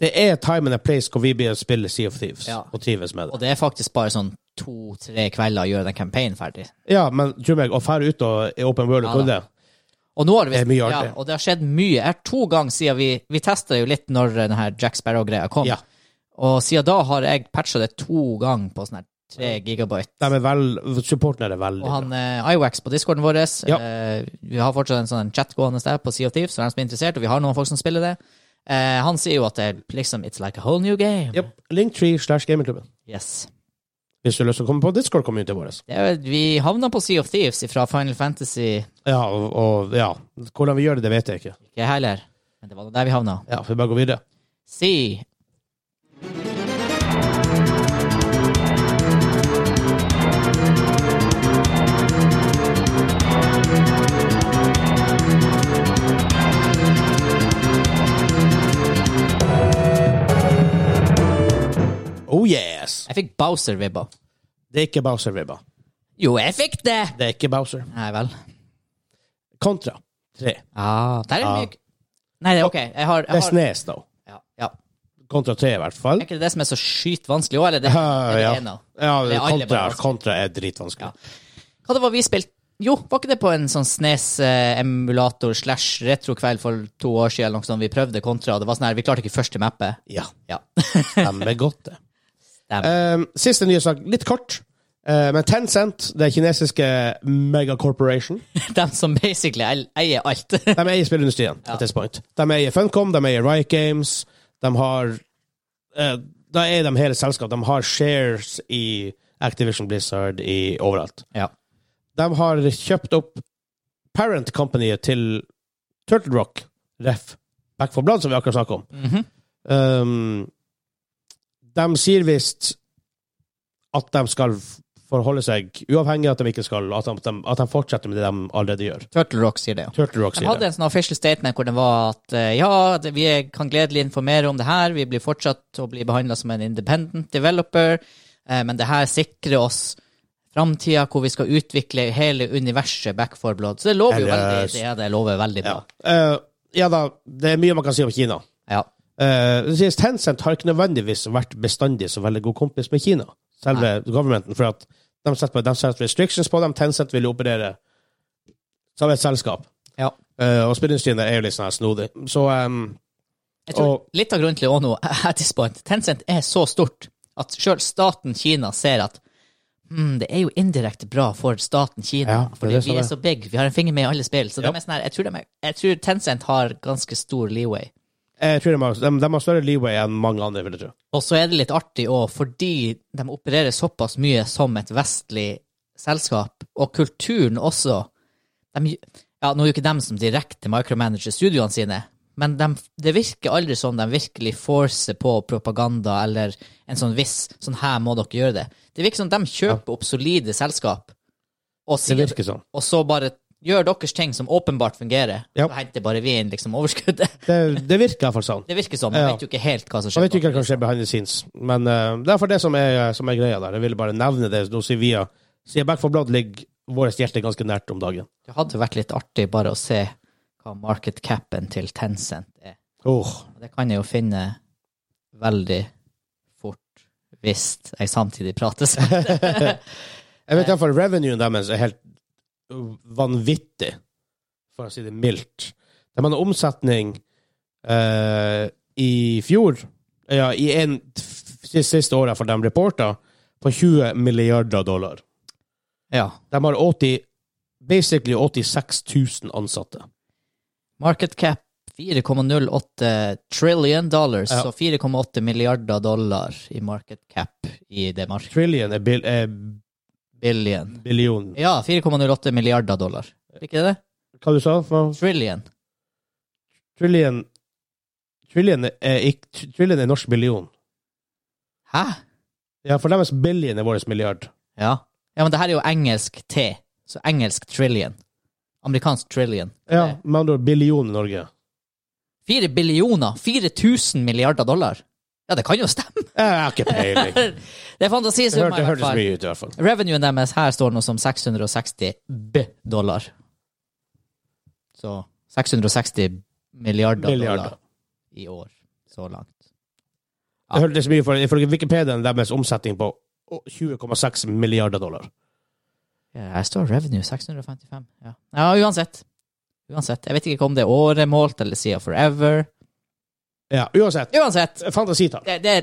det er time and a place hvor vi blir å spille Sea of Thieves
Ja.
og trives med det.
Og det er faktisk bare sånn to-tre kvelder å gjøre den campaignen ferdig.
Ja, men tro meg, å fære ut og i Open World og
Ja
kunne det
Og nå har det,
Det er mye
ja,
artig.
og det har skjedd mye. Jeg har to ganger siden vi Vi testa jo litt når eh, den her Jack Sparrow-greia kom.
Ja.
Og siden da har jeg patcha det to ganger på sånn her tre gigabyte.
De er vel, Supporten er det veldig
Og han eh, Iwax på discorden vår
Ja.
eh, Vi har fortsatt en sånn chat gående der på Sea of Thieves, for dem som er interessert, og vi har noen folk som spiller det. Eh, han sier jo at det er liksom It's like a whole new game.
bra. Yep. Linktree slash gamingklubben.
Yes.
Hvis du har lyst til å komme på Discord-communityen vår.
Det er, jo- vi havna på Sea of Thieves fra Final Fantasy,
Ja, og, og ja. Hvordan vi gjør det, det vet jeg ikke.
ikke jeg heller, men det var der vi havna.
Ja, Vi bare går videre.
Si.
Oh yes!
Jeg fikk Bowser-vibba.
Det er ikke Bowser-ribba.
Jo, jeg fikk det!
Det er ikke Bowser.
Nei vel.
Kontra. Tre.
Ah, der er det
Ja.
myk. Nei, det er ok. Jeg har,
Det
jeg
er
har
Snes, da.
ja, ja.
Kontra tre, i hvert fall.
Er ikke det det som er så skyt vanskelig òg, eller? Det,
Ja,
det
ja.
er en av. Det
ja
er alle
kontra,
bare vanskelig.
kontra er dritvanskelig.
Ja. Hva det var vi spilte? Jo, var ikke det på en sånn Snes-emulator slash retrokveld for to år siden eller noe sånt? Vi prøvde kontra, og det var sånn her, vi klarte ikke første mappet.
Ja.
Ja. [LAUGHS]
Stemmer godt, det.
Stemmer.
Um, siste nye sak, litt kort. Eh, men Tencent, det kinesiske megacorporation
De som basically el- eier alt.
De eier spillindustrien at this point. De eier Funcom, de eier Riot Games. De har eh, Da er de hele selskap. De har shares i Activision Blizzard i overalt.
ja.
De har kjøpt opp parent companyet til Turtle Rock, ref. Back for Blood, som vi akkurat snakket om.
Mhm.
Um, de sier visst at de skal forholde seg uavhengig, at de ikke skal At de, at de, at de fortsetter med det de allerede gjør.
Turtle Rock sier det, jo.
Turtle Rock
De
sier
hadde
det.
en sånn official statement hvor det var at eh, ja, det, vi kan gledelig informere om det her, vi blir fortsatt å bli behandla som en independent developer, eh, men det her sikrer oss framtida hvor vi skal utvikle hele universet back for blood. Så det lover jo
Eller-
veldig, det, er det lover veldig
Ja.
bra.
Eh, ja da, det er mye man kan si om Kina.
Ja.
Eh, det sies Tencent har ikke nødvendigvis vært bestandig så veldig god kompis med Kina, selve governmenten, for at de setter, de setter restrictions på dem. Tencent vil jo operere som et selskap.
Ja.
Eh, og spillindustrien der er jo litt sånn her snodig. Så um,
Jeg tror
Og-
Litt av grunnen til å nå [LAUGHS] at this point, Tencent er så stort at sjøl staten Kina ser at hmm, det er jo indirekte bra for staten Kina,
Ja, det er
fordi
det som
vi er
er.
så big, vi har en finger med i alle spill. Så
Ja.
de er sånn her, jeg, tror de er, jeg tror Tencent har ganske stor leeway.
jeg tror de har, de, de har større leeway enn mange andre, vil jeg tro.
Og så er det litt artig òg, fordi de opererer såpass mye som et vestlig selskap, og kulturen også de, ja, Nå er jo ikke dem som direkte micromanager studioene sine, men de, det virker aldri som de virkelig forcer på propaganda eller en sånn viss sånn her må dere gjøre det. Det virker som de kjøper opp solide selskap, og,
Det
sier,
virker sånn.
og så bare gjør deres ting som åpenbart fungerer,
Ja.
så henter bare vi inn liksom overskuddet. [LAUGHS]
Det, det virker i hvert fall sånn.
Det virker sånn, men
Ja.
vet jo ikke helt hva som
Jeg
skjer.
vet jo ikke hva som skjer behind the scenes, men eh, det er for det som er, som er greia der. Jeg ville bare nevne det. Nå sier vi Siden Back for Blood ligger vårt hjerte ganske nært om dagen.
Det hadde vært litt artig bare å se hva market capen til Tencent er.
Åh,
Og Det kan jeg jo finne veldig fort hvis jeg samtidig prater sakte.
Jeg vet iallfall revenuen deres er helt vanvittig, for å si det mildt. De hadde omsetning eh, i fjor, ja, i en, siste, siste året for de reporta, på 20 milliarder dollar.
Ja.
De har 80, basically 86 000 ansatte.
Market cap 4,08 trillion dollars,
Ja.
så 4,8 milliarder dollar i market cap i det markedet.
Trillion er, bil, er
Billion.
billion
Ja, 4,08 milliarder dollar. Er ikke det det?
Hva du sa du?
Trillion.
Trillion Trillion er, ikk- trillion er norsk billion.
Hæ?
Ja, for deres billion er vår milliard.
Ja. ja, men det her er jo engelsk T, så engelsk trillion. Amerikansk trillion.
Ja, med andre ord billion i Norge.
Fire billioner, 4000 milliarder dollar. Ja, det kan jo stemme.
Jeg har ikke
[LAUGHS]
peiling. Det
Det er
hørte-
fantasisummer,
Det
i hvert
hørtes
fall.
mye ut, i hvert fall.
Revenuen deres her står nå som 660 B-dollar. Så 660 milliarder,
Milliarder.
dollar i år, så langt. Ja.
Det hørtes mye ut, for ifølge Wikipedia er deres omsetning på 20,6 milliarder dollar.
Ja, Her står revenue 655. Ja. ja, uansett. Uansett. Jeg vet ikke om det er året målt eller siden forever.
Ja, uansett.
Uansett.
Fantasitall.
det, det,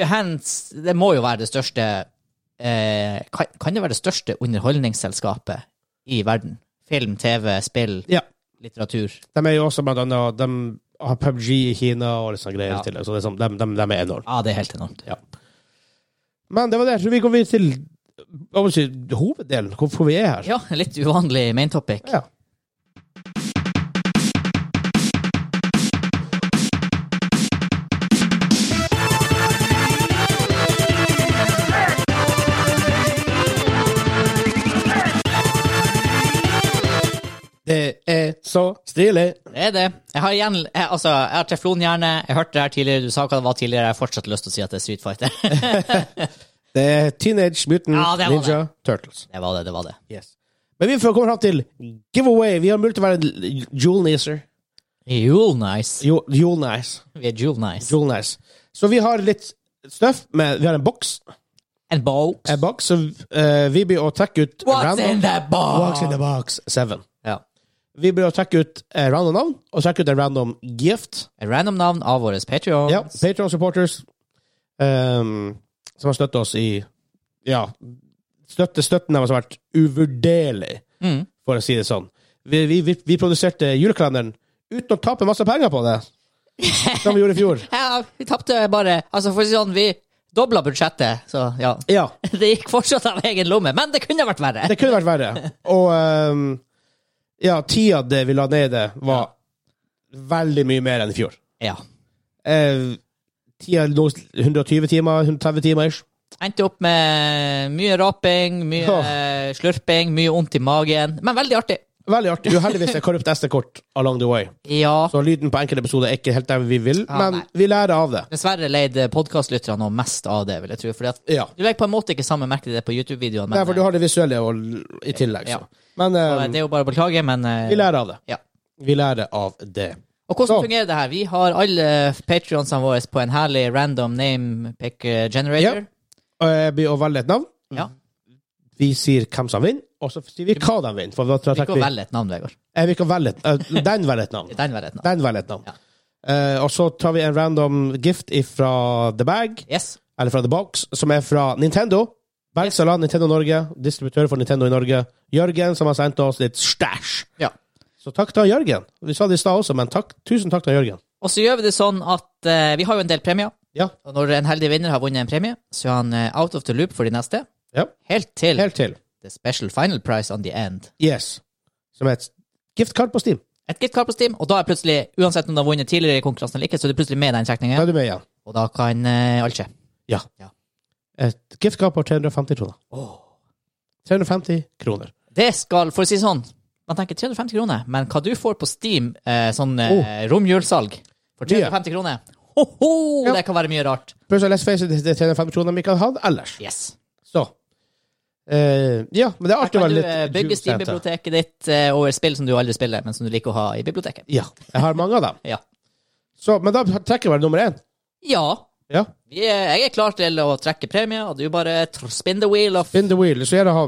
er- hands, det må jo være det største eh, kan, kan det være det største underholdningsselskapet i verden? Film, TV, spill,
Ja.
litteratur.
De er jo også blant annet De har PubG i Kina og litt sånne greier
Ja.
til. Så det er sånn, de, de, de er enorme.
Ja, det er helt enormt.
Ja. Men det var det. Så vi går videre til hva vil jeg si, hoveddelen, hvorfor vi er her.
Ja, litt uvanlig main topic.
Ja. Det er så stilig.
Det er det. Jeg har igjen, jeg, altså, jeg har teflonhjerne. Jeg hørte det her tidligere, du sa hva det var tidligere. Jeg har fortsatt lyst til å si at det er Street Fighter. [LAUGHS]
Det er Teenage Mutant
Ja, det var
Ninja Turtles.
det var det, det var det.
Men vi får komme fram til giveaway. Vi har mulighet til å være Jule Nicer.
Jule nice.
Jo- Jule Nice.
Vi er jule nice.
Jule Nice. Så vi har litt stuff. Med, vi har en boks.
And box.
En boks, så eh, vi blir å trekke ut
What's in the
What's
box?
in the box? Seven.
Ja.
Vi blir å trekke ut eh, random navn, og trekke ut en random gift.
Et random navn av våre Patreons.
Ja, Patreon supporters ehm, som har støttet oss i Ja, støtte, støtten deres har vært uvurderlig,
Mm.
for å si det sånn. Vi, vi, vi, vi produserte julekalenderen uten å tape masse penger på det,
[LAUGHS]
som vi gjorde i fjor.
Ja, vi tapte bare Altså, for å si sånn, vi dobla budsjettet, så
[LAUGHS]
ja.
Ja,
Det gikk fortsatt av egen lomme, men det kunne vært verre.
det kunne vært verre. Og ehm, ja, tida det vi la ned i det, var veldig mye mer enn i fjor.
Ja.
Eh, tida lå 120 timer, 130 timer ish.
Endte opp med mye raping, mye
Ja.
eh, slurping, mye vondt i magen, men veldig artig.
Veldig artig. Uheldigvis er korrupt SD-kort along the way.
Ja.
Så lyden på enkelte episoder er ikke helt der vi vil,
Ja,
men
nei.
vi lærer av det.
Dessverre leide podkastlytterne nå mest av det, vil jeg tro. Fordi at
Ja.
du legger på en måte ikke samme merke til det på YouTube-videoene,
Nei,
men
for du har det visuelle og, l- i tillegg. Så.
Ja.
Men
eh,
eh,
det er jo bare å beklage, men eh,
vi lærer av det.
Ja.
Vi lærer av det.
Og hvordan
Så.
fungerer det her? Vi har alle patrionsene våre på en herlig random name pick eh, generator.
Og jeg blir å velge et navn.
Ja.
Vi sier hvem som vinner, og så sier vi hva de vinner. For da
Vi
trekker
kan
vi,
velge et navn, Vegard.
Eh, vi kan velge et, eh, den velger et navn.
Den velger et navn.
Den velger et navn.
Ja.
Eh, og så tar vi en random gift fra The Bag.
Yes.
eller fra The Box, som er fra Nintendo. Bergsala, Nintendo Norge, distributør for Nintendo i Norge. Jørgen, som har sendt oss litt stæsj.
Ja.
Så takk til Jørgen. Vi sa det i stad også, men takk, tusen takk til Jørgen.
Og så gjør vi det sånn at eh, vi har jo en del premier.
Ja.
Og når en heldig vinner har vunnet en premie, så er han eh, out of the loop for de neste.
Ja.
Helt til
Helt til.
the special final prize on the end.
Yes. Som er et giftkart på Steam.
Et gitkart på Steam, og da er plutselig, uansett om du har vunnet tidligere i konkurransen eller ikke, så er du plutselig med i den
Da
trekningen,
er du med igjen.
og da kan eh, alt skje.
Ja.
Ja.
Et giftkart på 350 kroner. 350 kroner.
Det skal, for å si det sånn, man tenker 350 kroner, men hva du får på Steam, eh, sånn eh, romjulsalg for
Oh. Mye.
350 kroner, ho ho,
Ja.
det kan være mye rart.
Pluss let's face it, det er 350 kroner vi kan ha det ellers.
Yes.
Så. Eh, ja, men det er
Her
artig å
kan
være
du
litt
eh, bygge
julesenter.
Steam-biblioteket ditt eh, over spill som du aldri spiller, men som du liker å ha i biblioteket.
Ja. Jeg har mange av dem.
[LAUGHS] Ja.
Så, men da trekker vi nummer én.
Ja.
Ja.
Vi er, jeg er klar til å trekke premie, og du bare tr- spin the wheel of
Spin the wheel. Så gjerne ha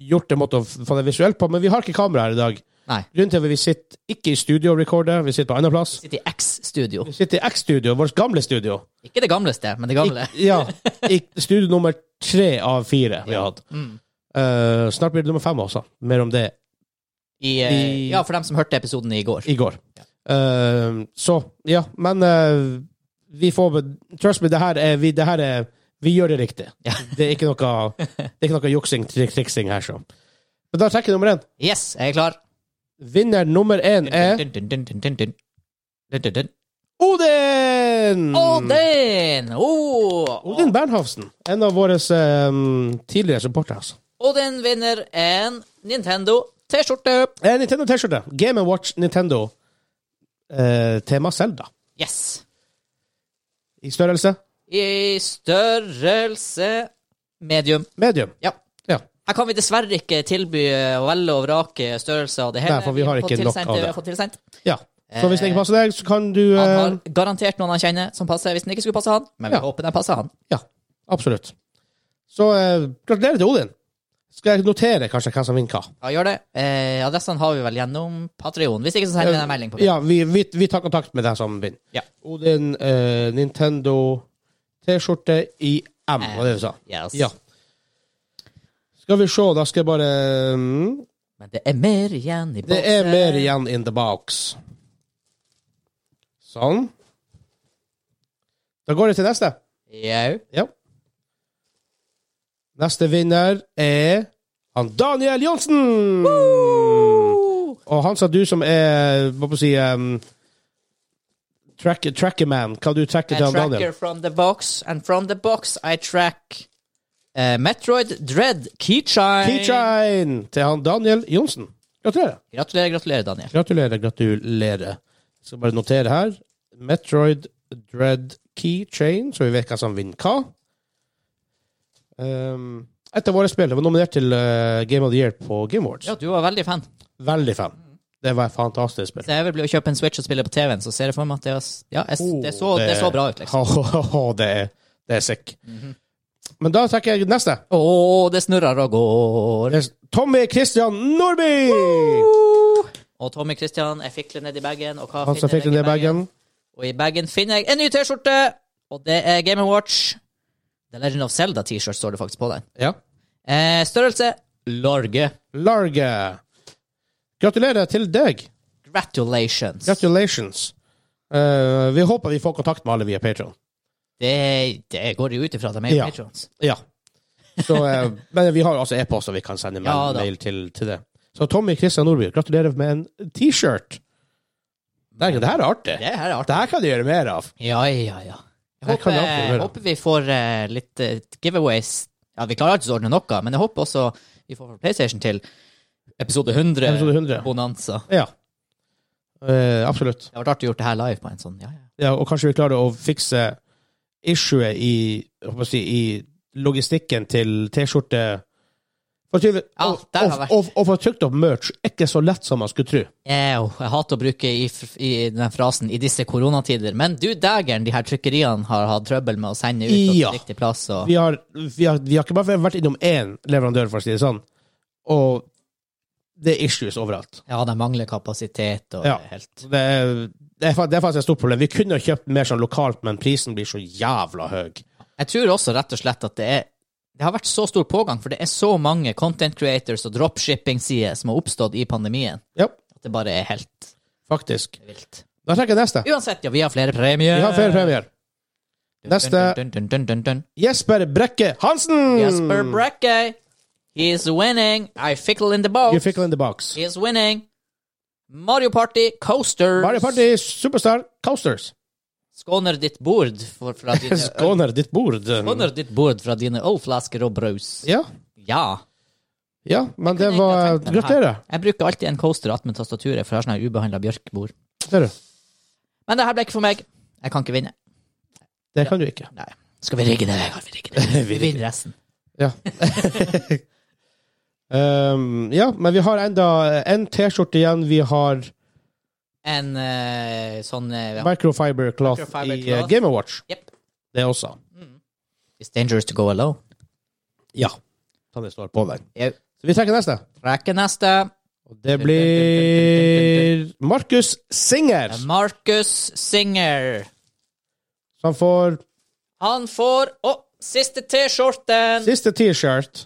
gjort det måte å få det visuelt på, men vi har ikke kamera her i dag.
Nei.
Grunnen til at vi sitter ikke i studio og recorder, vi sitter på annen plass.
City X-studio.
Vi sitter i X-studio, vårt gamle studio.
Ikke det gamle sted, men det gamle.
Ik-
[LAUGHS]
ja. I studio nummer tre av fire vi har hatt.
Mm.
Eh, snart blir det nummer fem også. Mer om det
I, eh,
I-
ja, for dem som hørte episoden i går.
i går. Eh, så, ja. Men eh, vi får be- Trust me, det her er vi, det her er, vi gjør det riktig.
Ja.
[LAUGHS] Det er ikke noe, det er ikke noe juksing, trik, triksing her, så. Men da trekker jeg nummer én.
Yes, jeg er klar.
Vinner nummer én er
Dun, dun, dun, dun, dun, dun. Dun, dun, dun.
Odin!
Odin! Oh.
Mm. Odin Bernhofsen. En av våre eh, tidligere supportere. Altså.
Odin vinner en Nintendo T-skjorte.
Eh, Nintendo T-skjorte. Game Watch Nintendo. Eh, tema Zelda.
Yes.
I størrelse.
I størrelse medium.
Medium.
Ja.
Ja.
Her kan vi dessverre ikke tilby eh, å velge og vrake størrelser og det hele.
Nei, for vi har
fått
ikke nok
tilsendt
av
vi
det.
har fått tilsendt.
ja. Så hvis den ikke passer deg, så kan du
Han
eh,
har garantert noen han kjenner som passer, hvis den ikke skulle passe han. Men vi
Ja.
håper den passer han.
Ja. Absolutt. Så eh, gratulerer til Odin. Skal jeg notere kanskje hvem som vinner hva?
Ja, gjør det. Eh, adressene har vi vel gjennom Patreon. Hvis ikke, så sender vi en melding på det.
Eh, Ja, vi, vi, vi tar kontakt med deg som vinner.
Ja.
Odin eh, Nintendo T-skjorte i M, var det du sa.
Yes.
Ja. Skal vi se, da skal jeg bare mm,
Men det er mer igjen i
Det
boksen.
er mer igjen in the box. Sånn. Da går det til neste.
Jau.
Ja. Neste vinner er han Daniel Johnsen! Og han sa du som er Hva skal jeg si um, track, Trackerman. Hva du tracker
I
til han
tracker
Daniel?
from the box, and from the box I track eh, Metroid Dread Keychain.
Keychain til han Daniel Johnsen. Gratulerer.
Gratulerer, gratulerer, Daniel.
Gratulerer, gratulerer. Jeg skal bare notere her. Metroid Dread Keychain, så vi vet hva som vinner hva. Um, et av våre spill det var nominert til eh, Game of the Year på Game Awards.
Ja, du var veldig fan.
Veldig fan. Det var et fantastisk spill.
Så jeg vil bli å kjøpe en Switch og spille på TV-en, så ser jeg for meg at det, var, ja, jeg, det, så, det så bra ut, liksom.
Åh, det er, det er sick. Men da trekker jeg neste.
Å, det snurrer og går.
Det er Tommy Christian Nordby!
Og Tommy Christian, jeg fikler ned i bagen. Og hva
Han som
finner
fikk den
jeg
i bagen.
Og i bagen finner jeg en ny T-skjorte, og det er Game Watch. The Legend of Zelda-T-shirt står det faktisk på den.
Ja.
Eh, størrelse large.
Large. Gratulerer til deg.
Gratulations.
Congratulations. Eh, vi håper vi får kontakt med alle via Patron.
Det, det går jo ut ifra at de er
Ja.
patrons.
Ja. Så, eh, men vi har altså e-post, og vi kan sende mail,
Ja da.
mail til, til det. Så Tommy Kristian Nordby, gratulerer med en T-shirt. Det, det her er artig.
Det her er artig.
Det her kan du gjøre mer av.
Ja, ja, ja. Jeg
Her kan
håper,
det alltid være.
håper vi får eh, litt eh, giveaways. Ja, vi klarer alltid å ordne noe, men jeg håper også vi får fra PlayStation til episode 100,
Episode 100.
Bonanza.
Ja. Eh, absolutt.
Det har vært artig å gjøre det her live på en sånn, ja, ja.
Ja, og kanskje vi klarer å fikse issuet i, jeg håper å si, i logistikken til T-skjorte For tyve-
Ja,
og-
der har
og-
vært-
og- Å få trykt opp merch er ikke så lett som man skulle tro.
Ew, jeg hater å bruke i, f- i den frasen i disse koronatider, men du dægeren, de her trykkeriene har hatt trøbbel med å sende ut på
Ja.
riktig plass. Og...
vi har, vi, har, vi har ikke bare vært innom én leverandør, for å si det sånn. Og det er issues overalt.
Ja, de mangler kapasitet og
Ja.
helt
Så Det er, det, er, fa- det er faktisk et stort problem. Vi kunne ha kjøpt mer sånn lokalt, men prisen blir så jævla høy.
Jeg tror også rett og slett at det er Det har vært så stor pågang, for det er så mange content creators og dropshipping-sider som har oppstått i pandemien,
Ja,
at det bare er helt
faktisk.
vilt.
Da trekker jeg neste.
Uansett, ja, vi har flere premier.
Vi har flere premier. Neste.
Dun, dun, dun, dun, dun.
Jesper Brekke Hansen!
Jesper
Mm.
Brekke. He's winning. I fickle in the boat.
You fickle in the box.
He is winning. Mario Party Coasters.
Mario Party Superstar Coasters.
Skåner ditt bord for, fra
[LAUGHS]
dine
Skåner ditt bord. eh.
Skåner ditt bord fra dine ølflasker og brus.
Ja,
Ja.
ja, men det
Jeg kunne
var
egentlig ha tenkt meg det her.
Gratulerer.
Jeg bruker alltid en coaster attmed tastaturet, for jeg har sånn ubehandla bjørkbord.
Ser du.
Men det her ble ikke for meg. Jeg kan ikke vinne.
Det kan du ikke.
Nei. Skal vi rigge det? Vegard? Vi rigger det. [LAUGHS] Vi vinner resten.
Ja. [LAUGHS] um, ja, men vi har enda eh, en T-skjorte igjen. Vi har
En eh, sånn eh, ja.
microfiber cloth
Microfiber
i eh,
cloth.
Game Watch.
Jep.
Det også.
It's dangerous to go alone.
Ja. Sånn det står på den.
Jau.
Så vi trekker neste.
Trekker neste.
Og det blir Markus Singer,
Markus Singer.
som får
Han får Å, siste T-skjorten!
siste T-shirt.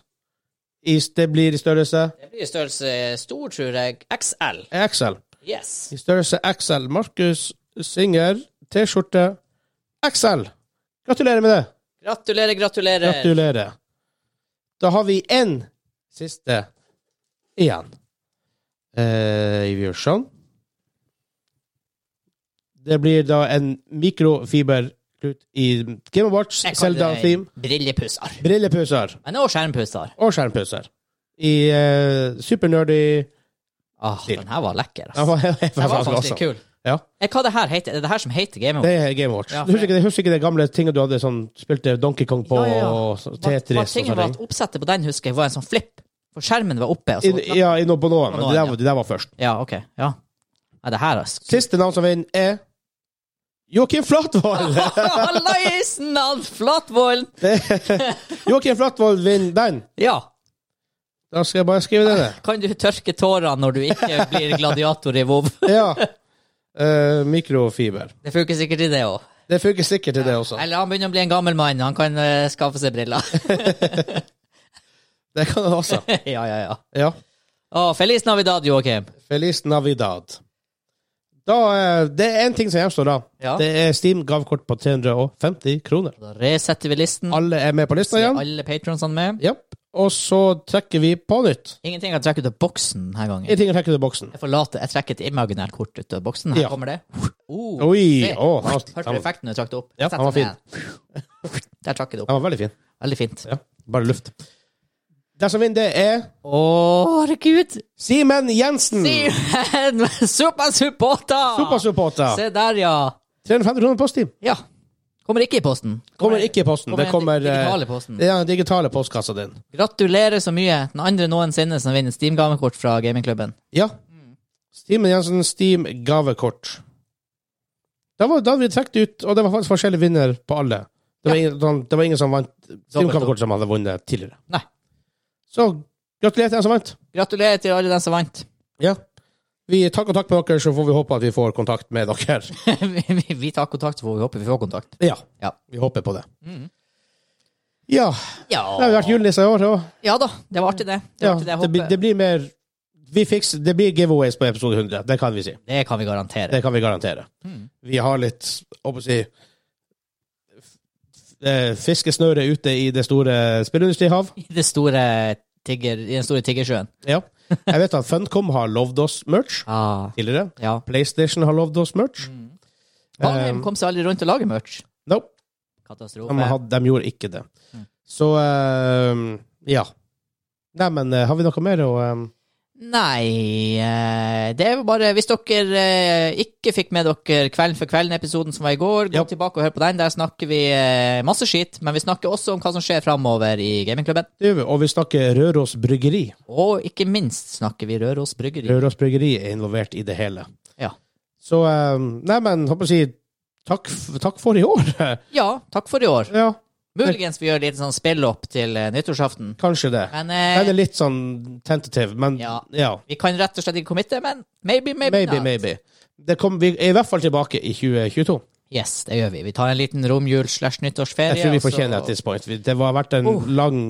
I- Det blir i størrelse
Det blir størrelse stor, tror jeg. XL.
XL.
Yes.
I størrelse XL. Markus Singer, T-skjorte XL. Gratulerer med det.
Gratulerer, gratulerer.
Gratulerer. Da har vi én siste igjen. Eh, vi gjør sånn. Det blir da en mikrofiberklut i Game Watch,
Jeg kaller det
Selda-theme,
Brillepussar.
brillepuser
Men også skjermpussar.
og skjermpuser. I eh, supernerdy
Åh, Ah, den her var lekker,
[LAUGHS] Den
ass.
var, den
Den var
var
faktisk
awesome.
litt kul.
Ja,
Eh, Hva det her heter? Er det det her som heter Game
det
Over?
er Game Watch.
Ja,
Du husker, ikke, husker ikke det gamle tinget du hadde sånn, spilte Donkey Kong på,
Ja, ja, ja.
og så- Tetris altså, og
Tingen
sånne
var
ting?
at oppsettet på den, husker jeg, var en sånn flip. For skjermen var oppe. Og så,
I, ja, i noe på noen, men
På
det
noen,
der, var- det der var først.
ja, ok. Ja. Nei, det her er
[LAUGHS]
sk...
Siste navn som vinner er Joakim [LAUGHS] Flatvold!
[LAUGHS] Hallaisen av Flatvollen!
Joakim Flatvold vinner den.
Ja.
Da skal jeg bare skrive det ned.
Kan du tørke tårene når du ikke blir gladiator i WoW? [LAUGHS]
Ja. Eh, mikrofiber.
Det funker sikkert i det òg.
Det funker sikkert til det også.
Eller han begynner å bli en gammel mann. Han kan eh, skaffe seg briller. [LAUGHS]
Det kan det også.
ja, ja, ja.
Ja.
Å, Feliz Navidad, Joakim.
Feliz Navidad. Da, eh, det er én ting som gjenstår da.
Ja.
Det er Steam-gavekort på 350 kroner.
Da resetter vi listen.
Alle er med på lista
Alle,
igjen.
alle patronsene med.
Japp. Og så trekker vi på nytt.
Ingenting kan trekke ut av boksen denne gangen.
En ting jeg trekker ut av boksen.
Jeg forlater, jeg trekker et imaginært kort ut av boksen. Her
Ja.
kommer det. Oh,
Oi!
se.
å, han,
Hørte du
han,
effekten når du trakk det opp?
Ja,
Sett
han var
den ned. [LAUGHS] Der trakk jeg det opp.
han var veldig fin.
Veldig fint.
Ja. Bare luft. Det som vinner, det er
Å, herregud!
Simen Jensen!
[LAUGHS] Simen! Supersupporter!
Fotballsupporter.
Se der, ja.
350 kroner på Steam.
Ja. Kommer ikke i posten.
Kommer ikke i posten. Det kommer
den digitale
eh,
posten.
det er den digitale postkassa din.
Gratulerer så mye. Den andre noensinne som vinner Steam-gavekort fra gamingklubben.
Ja. Steam Jensen Steam gavekort. Da var da vi trukket ut, og det var faktisk forskjellig vinner på alle. Det var, ingen, sånn- det var ingen som vant Steam gavekort som hadde vunnet tidligere.
Nei.
Så gratulerer til den som vant.
Gratulerer til alle den som vant. [LAUGHS]
Ja. Vi tar kontakt med dere, så får vi håpe at vi får kontakt med dere.
vi, vi- vi tar kontakt, så får vi håpe vi får kontakt.
Ja.
Ja.
Vi håper på det. Ja.
Ja,
Det har jo vært julenisse i år òg.
ja da, det var artig, det. Det, var
Ja,
artig, det, jeg
det, blir-
håper-
det blir mer vi fikser, Det blir giveaways på episode 100. Det kan vi si.
det kan vi garantere.
Det kan vi garantere.
Mm.
Vi har litt hva skal jeg si, f- eh, fiskesnøre ute i det store spillindustrihav.
I, det store tigger, I den store tiggersjøen.
Ja. Jeg vet at Funcom har lovd oss merch
Ah,
tidligere.
ja.
PlayStation har lovd oss merch.
Mm. Valheim
Um,
kom seg aldri rundt og lage merch.
Nope,
Katastrofe.
de, hadde, de gjorde ikke det.
Mm.
Så eh, ja. Neimen, har vi noe mer å eh,
Nei eh, Det er jo bare Hvis dere eh, ikke fikk med dere Kvelden for kvelden-episoden som var i går, gå
Ja.
tilbake og hør på den. Der snakker vi eh, masse skit, men vi snakker også om hva som skjer framover i gamingklubben.
gjør vi, Og vi snakker Røros Bryggeri.
Og ikke minst snakker vi Røros Bryggeri.
Røros Bryggeri er involvert i det hele.
Ja.
Så eh, Nei, men håper jeg å si takk, f- takk for i
[LAUGHS]
år.
ja, takk for i år.
ja,
Muligens vi gjør litt sånn spill-opp til eh, nyttårsaften.
kanskje det.
Men
Den
eh,
er litt sånn tentative, men ja.
Ja. vi kan rett og slett ikke committe, men maybe, maybe,
Maybe,
not.
maybe. Det kom, vi er i hvert fall tilbake i 2022.
Yes, det gjør vi. Vi tar en liten romjul-slash-nyttårsferie.
Jeg tror vi
og så-
fortjener et tidspunkt. Vi- Det har vært en
Oh.
lang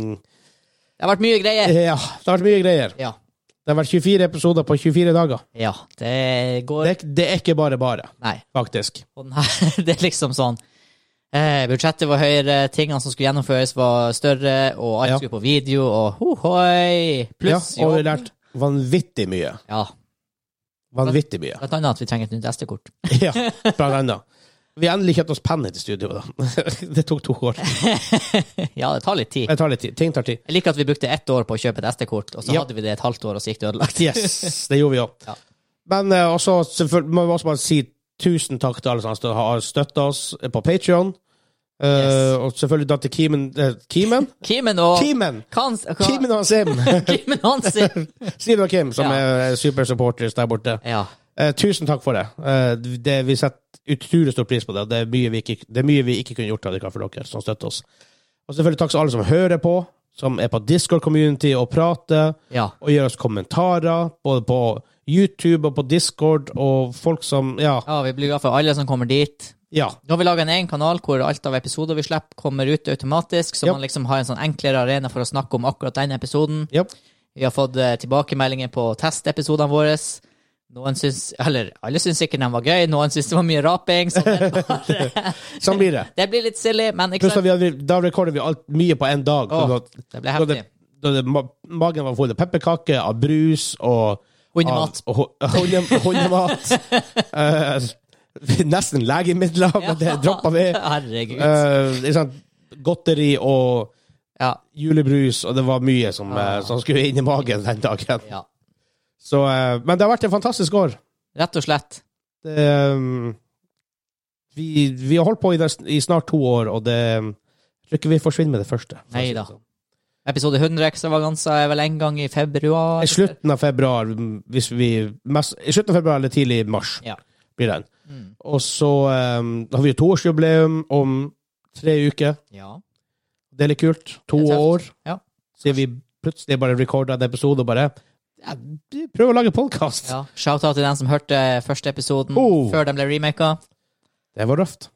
[LAUGHS] Det har vært mye greier.
Ja, det har vært mye greier.
Ja.
Det har vært 24 episoder på 24 dager.
ja det går
Det, er ikke- det er ikke bare bare,
Nei.
faktisk.
Og den her, [LAUGHS] det er liksom sånn eh, Budsjettet var høyere, tingene som skulle gjennomføres, var større, og alt
Ja.
skulle på video, og
Ja,
hohoi! Pluss
og vi har
jobb.
lært vanvittig mye.
Ja.
Vanvittig mye.
Blant annet at vi trenger et nytt SD-kort.
[LAUGHS] Ja, blant annet. Vi har endelig kjøpt oss penn til studio, da. [LAUGHS] Det tok to år.
[LAUGHS] ja, det tar litt tid.
Det tar litt tid. Ting tar tid.
Jeg liker at vi brukte ett år på å kjøpe et SD-kort, og så
Ja.
hadde vi det et halvt år, og så gikk det ødelagt.
Yes, det gjorde vi òg.
Ja.
Men eh, også, selvfølgelig må vi også bare si tusen takk til alle som har stø- har støtta oss på Patrion.
Yes.
Og selvfølgelig da til Kimen eh, Kimen?
Kimen og
Kimen!
Kans,
Kimen og Sim!
[LAUGHS]
[LAUGHS]
Kimen Hansen!
Sim og Kim, som
Ja.
er supersupporters der borte.
Ja.
Eh, tusen takk for det. Eh, det vi setter utrolig stor pris på det. Det er mye vi ikke, det er mye vi ikke kunne gjort av det for dere som støtter oss. Og selvfølgelig takk til alle som hører på, som er på Discord-community og prater,
Ja.
og gir oss kommentarer, både på YouTube og på Discord, og folk som Ja.
ja, vi blir glad for alle som kommer dit.
ja.
Nå har vi laga en egen kanal hvor alt av episoder vi slipper, kommer ut automatisk, så
Ja.
man liksom har en sånn enklere arena for å snakke om akkurat den episoden.
ja.
Vi har fått eh, tilbakemeldinger på testepisodene våre. Noen syns, eller alle syns sikkert den var gøy, noen syns det var mye raping. Så det,
[LAUGHS]
bare,
Sånn blir det.
det blir litt silly, men ikke
Pluss at
sant?
vi, har- da rekorder vi alt mye på én dag.
Åh,
så da-
det ble
da
heftig.
det- Da det, ma magen var full av pepperkaker, av brus og
Hundemat.
av- og hu- hunde- Hundemat. Eh, nesten legemidler, men det droppa vi.
Herregud.
Eh, ikke sant? Godteri og
ja,
julebrus, og det var mye som, eh, som skulle inn i magen den dagen.
ja.
Så, eh, men det har vært en fantastisk år.
Rett og slett.
Det, eh, vi, vi har holdt på i, det, i snart to år, og det jeg tror ikke vi forsvinner med det første. for å si det
Neida.
sånn.
Episode 100 ekstravaganser er vel en gang i februar?
I slutten av februar, mm, hvis vi mest, I slutten av februar eller tidlig i mars
Ja.
blir den.
Mm.
Og så eh, har vi jo toårsjubileum om tre uker.
Ja.
Det er litt kult. To
Det er tøft.
år.
Ja.
Siden vi plutselig bare recorda en episode og bare ja, vi prøver å lage podkast.
ja. Shout-out til den som hørte første episoden
Oh.
før den ble remaka.
Det var røft.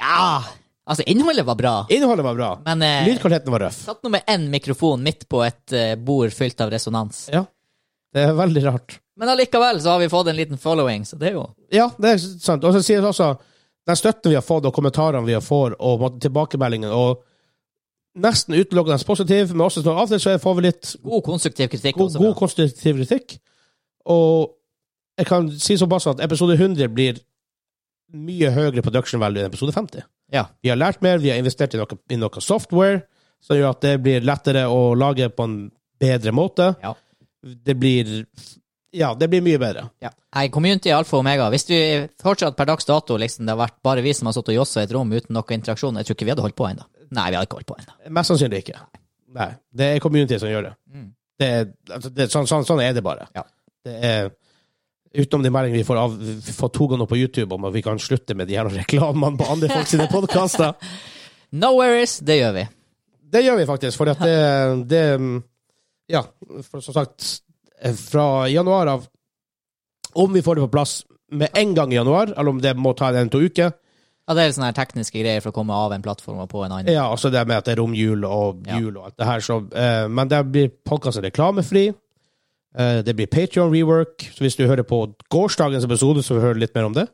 Ja! Altså, innholdet var bra,
Innholdet var bra.
men eh,
Lydkvaliteten var røff.
satt nå med én mikrofon midt på et eh, bord fylt av resonans.
Ja. Det er veldig rart.
Men allikevel så har vi fått en liten following, så det er jo
Ja, det er sant. Og så sier det også den støtten vi har fått, og kommentarene vi har fått, og på en måte tilbakemeldingene, og nesten utelukkende positiv, men også sånn av og til så får vi litt
god konstruktiv kritikk.
god,
også bra.
god konstruktiv kritikk. Og jeg kan si såpass at episode 100 blir mye høyere production value enn episode 50.
Ja.
Vi har lært mer, vi har investert i noe, i noe software, som gjør at det blir lettere å lage på en bedre måte.
Ja.
Det blir Ja, det blir mye bedre.
Ja. Nei, community er alfa og omega. Hvis vi fortsatt per dags dato liksom, det har vært bare vi som har sittet og jossa i et rom uten noe interaksjon, jeg tror ikke vi hadde holdt på ennå. Nei, vi hadde ikke holdt på ennå.
Mest sannsynlig ikke. Nei. Det er community som gjør det.
Mm.
det, er, altså, det er, sånn, sånn, sånn er det bare.
Ja.
Det er Utenom de meldingene vi får, av, vi får to ganger på YouTube om at vi kan slutte med de her reklamene på andre folk sine
[LAUGHS]
podkaster.
No worries, det gjør vi.
Det gjør vi faktisk, for at det, det Ja, for, som sagt, fra januar av Om vi får det på plass med en gang i januar, eller om det må ta en to uker
Ja, det er sånne her tekniske greier for å komme av en plattform og på en annen.
Ja, altså det med at det er romjul og
Ja.
jul og alt det her, så eh, Men der blir podkasten reklamefri. Eh, det blir Patreon rework, så hvis du hører på gårsdagens episode, så hører du litt mer om det.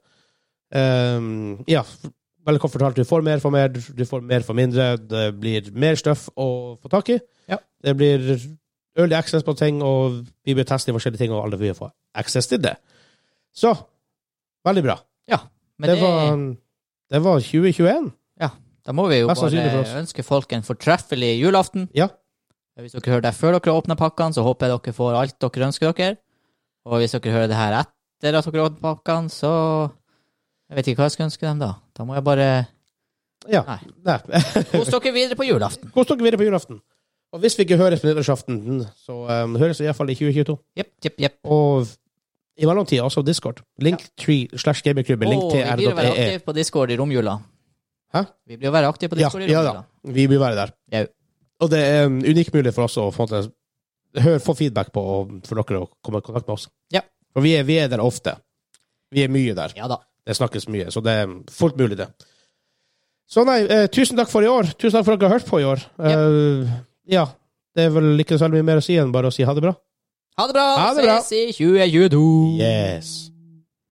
Eh, ja, veldig kort fortalt, du får mer for mer, du får mer for mindre. Det blir mer stuff å få tak i.
Ja.
Det blir early access på ting, og vi blir testet i forskjellige ting, og alle vil få access til det. Så veldig bra.
Ja, men
Det, var, det var 2021.
Da må vi jo
Mest sannsynlig for oss.
bare ønske folk en fortreffelig julaften.
Ja.
Hvis dere hører det før dere åpner pakkene, så håper jeg dere får alt dere ønsker dere. Og hvis dere hører det her etter at dere åpner pakkene, så Jeg vet ikke hva jeg skal ønske dem, da. Da må jeg bare
Ja.
Nei.
Nei.
Kos dere videre på julaften.
Kos dere videre på julaften. Og hvis vi ikke høres på nyttårsaften, så um, høres vi iallfall i 2022.
Jepp, jepp, jepp.
Og i mellomtida også Discord. Linktree slash gamingklubben. Link
Og
til
vi blir å være
r.ee.
aktive på Discord i romjula.
E. Hæ?
Vi blir å være aktive på
Ja,
Discord i
ja da.
romjula.
Vi bør være der.
Jau.
Og det er en unik mulighet for oss å få, til- hør, få feedback på, og for dere å komme i kontakt med oss.
Ja.
For vi er, vi er der ofte. Vi er mye der.
Ja da.
Det snakkes mye, så det er fullt mulig, det. Så nei, eh, tusen takk for i år. Tusen takk for at dere har hørt på i år. Eh, ja. Det er vel ikke så veldig mye mer å si enn bare å si ha det bra.
Ha det bra!
Ha det bra.
Ses i 2022!
Yes.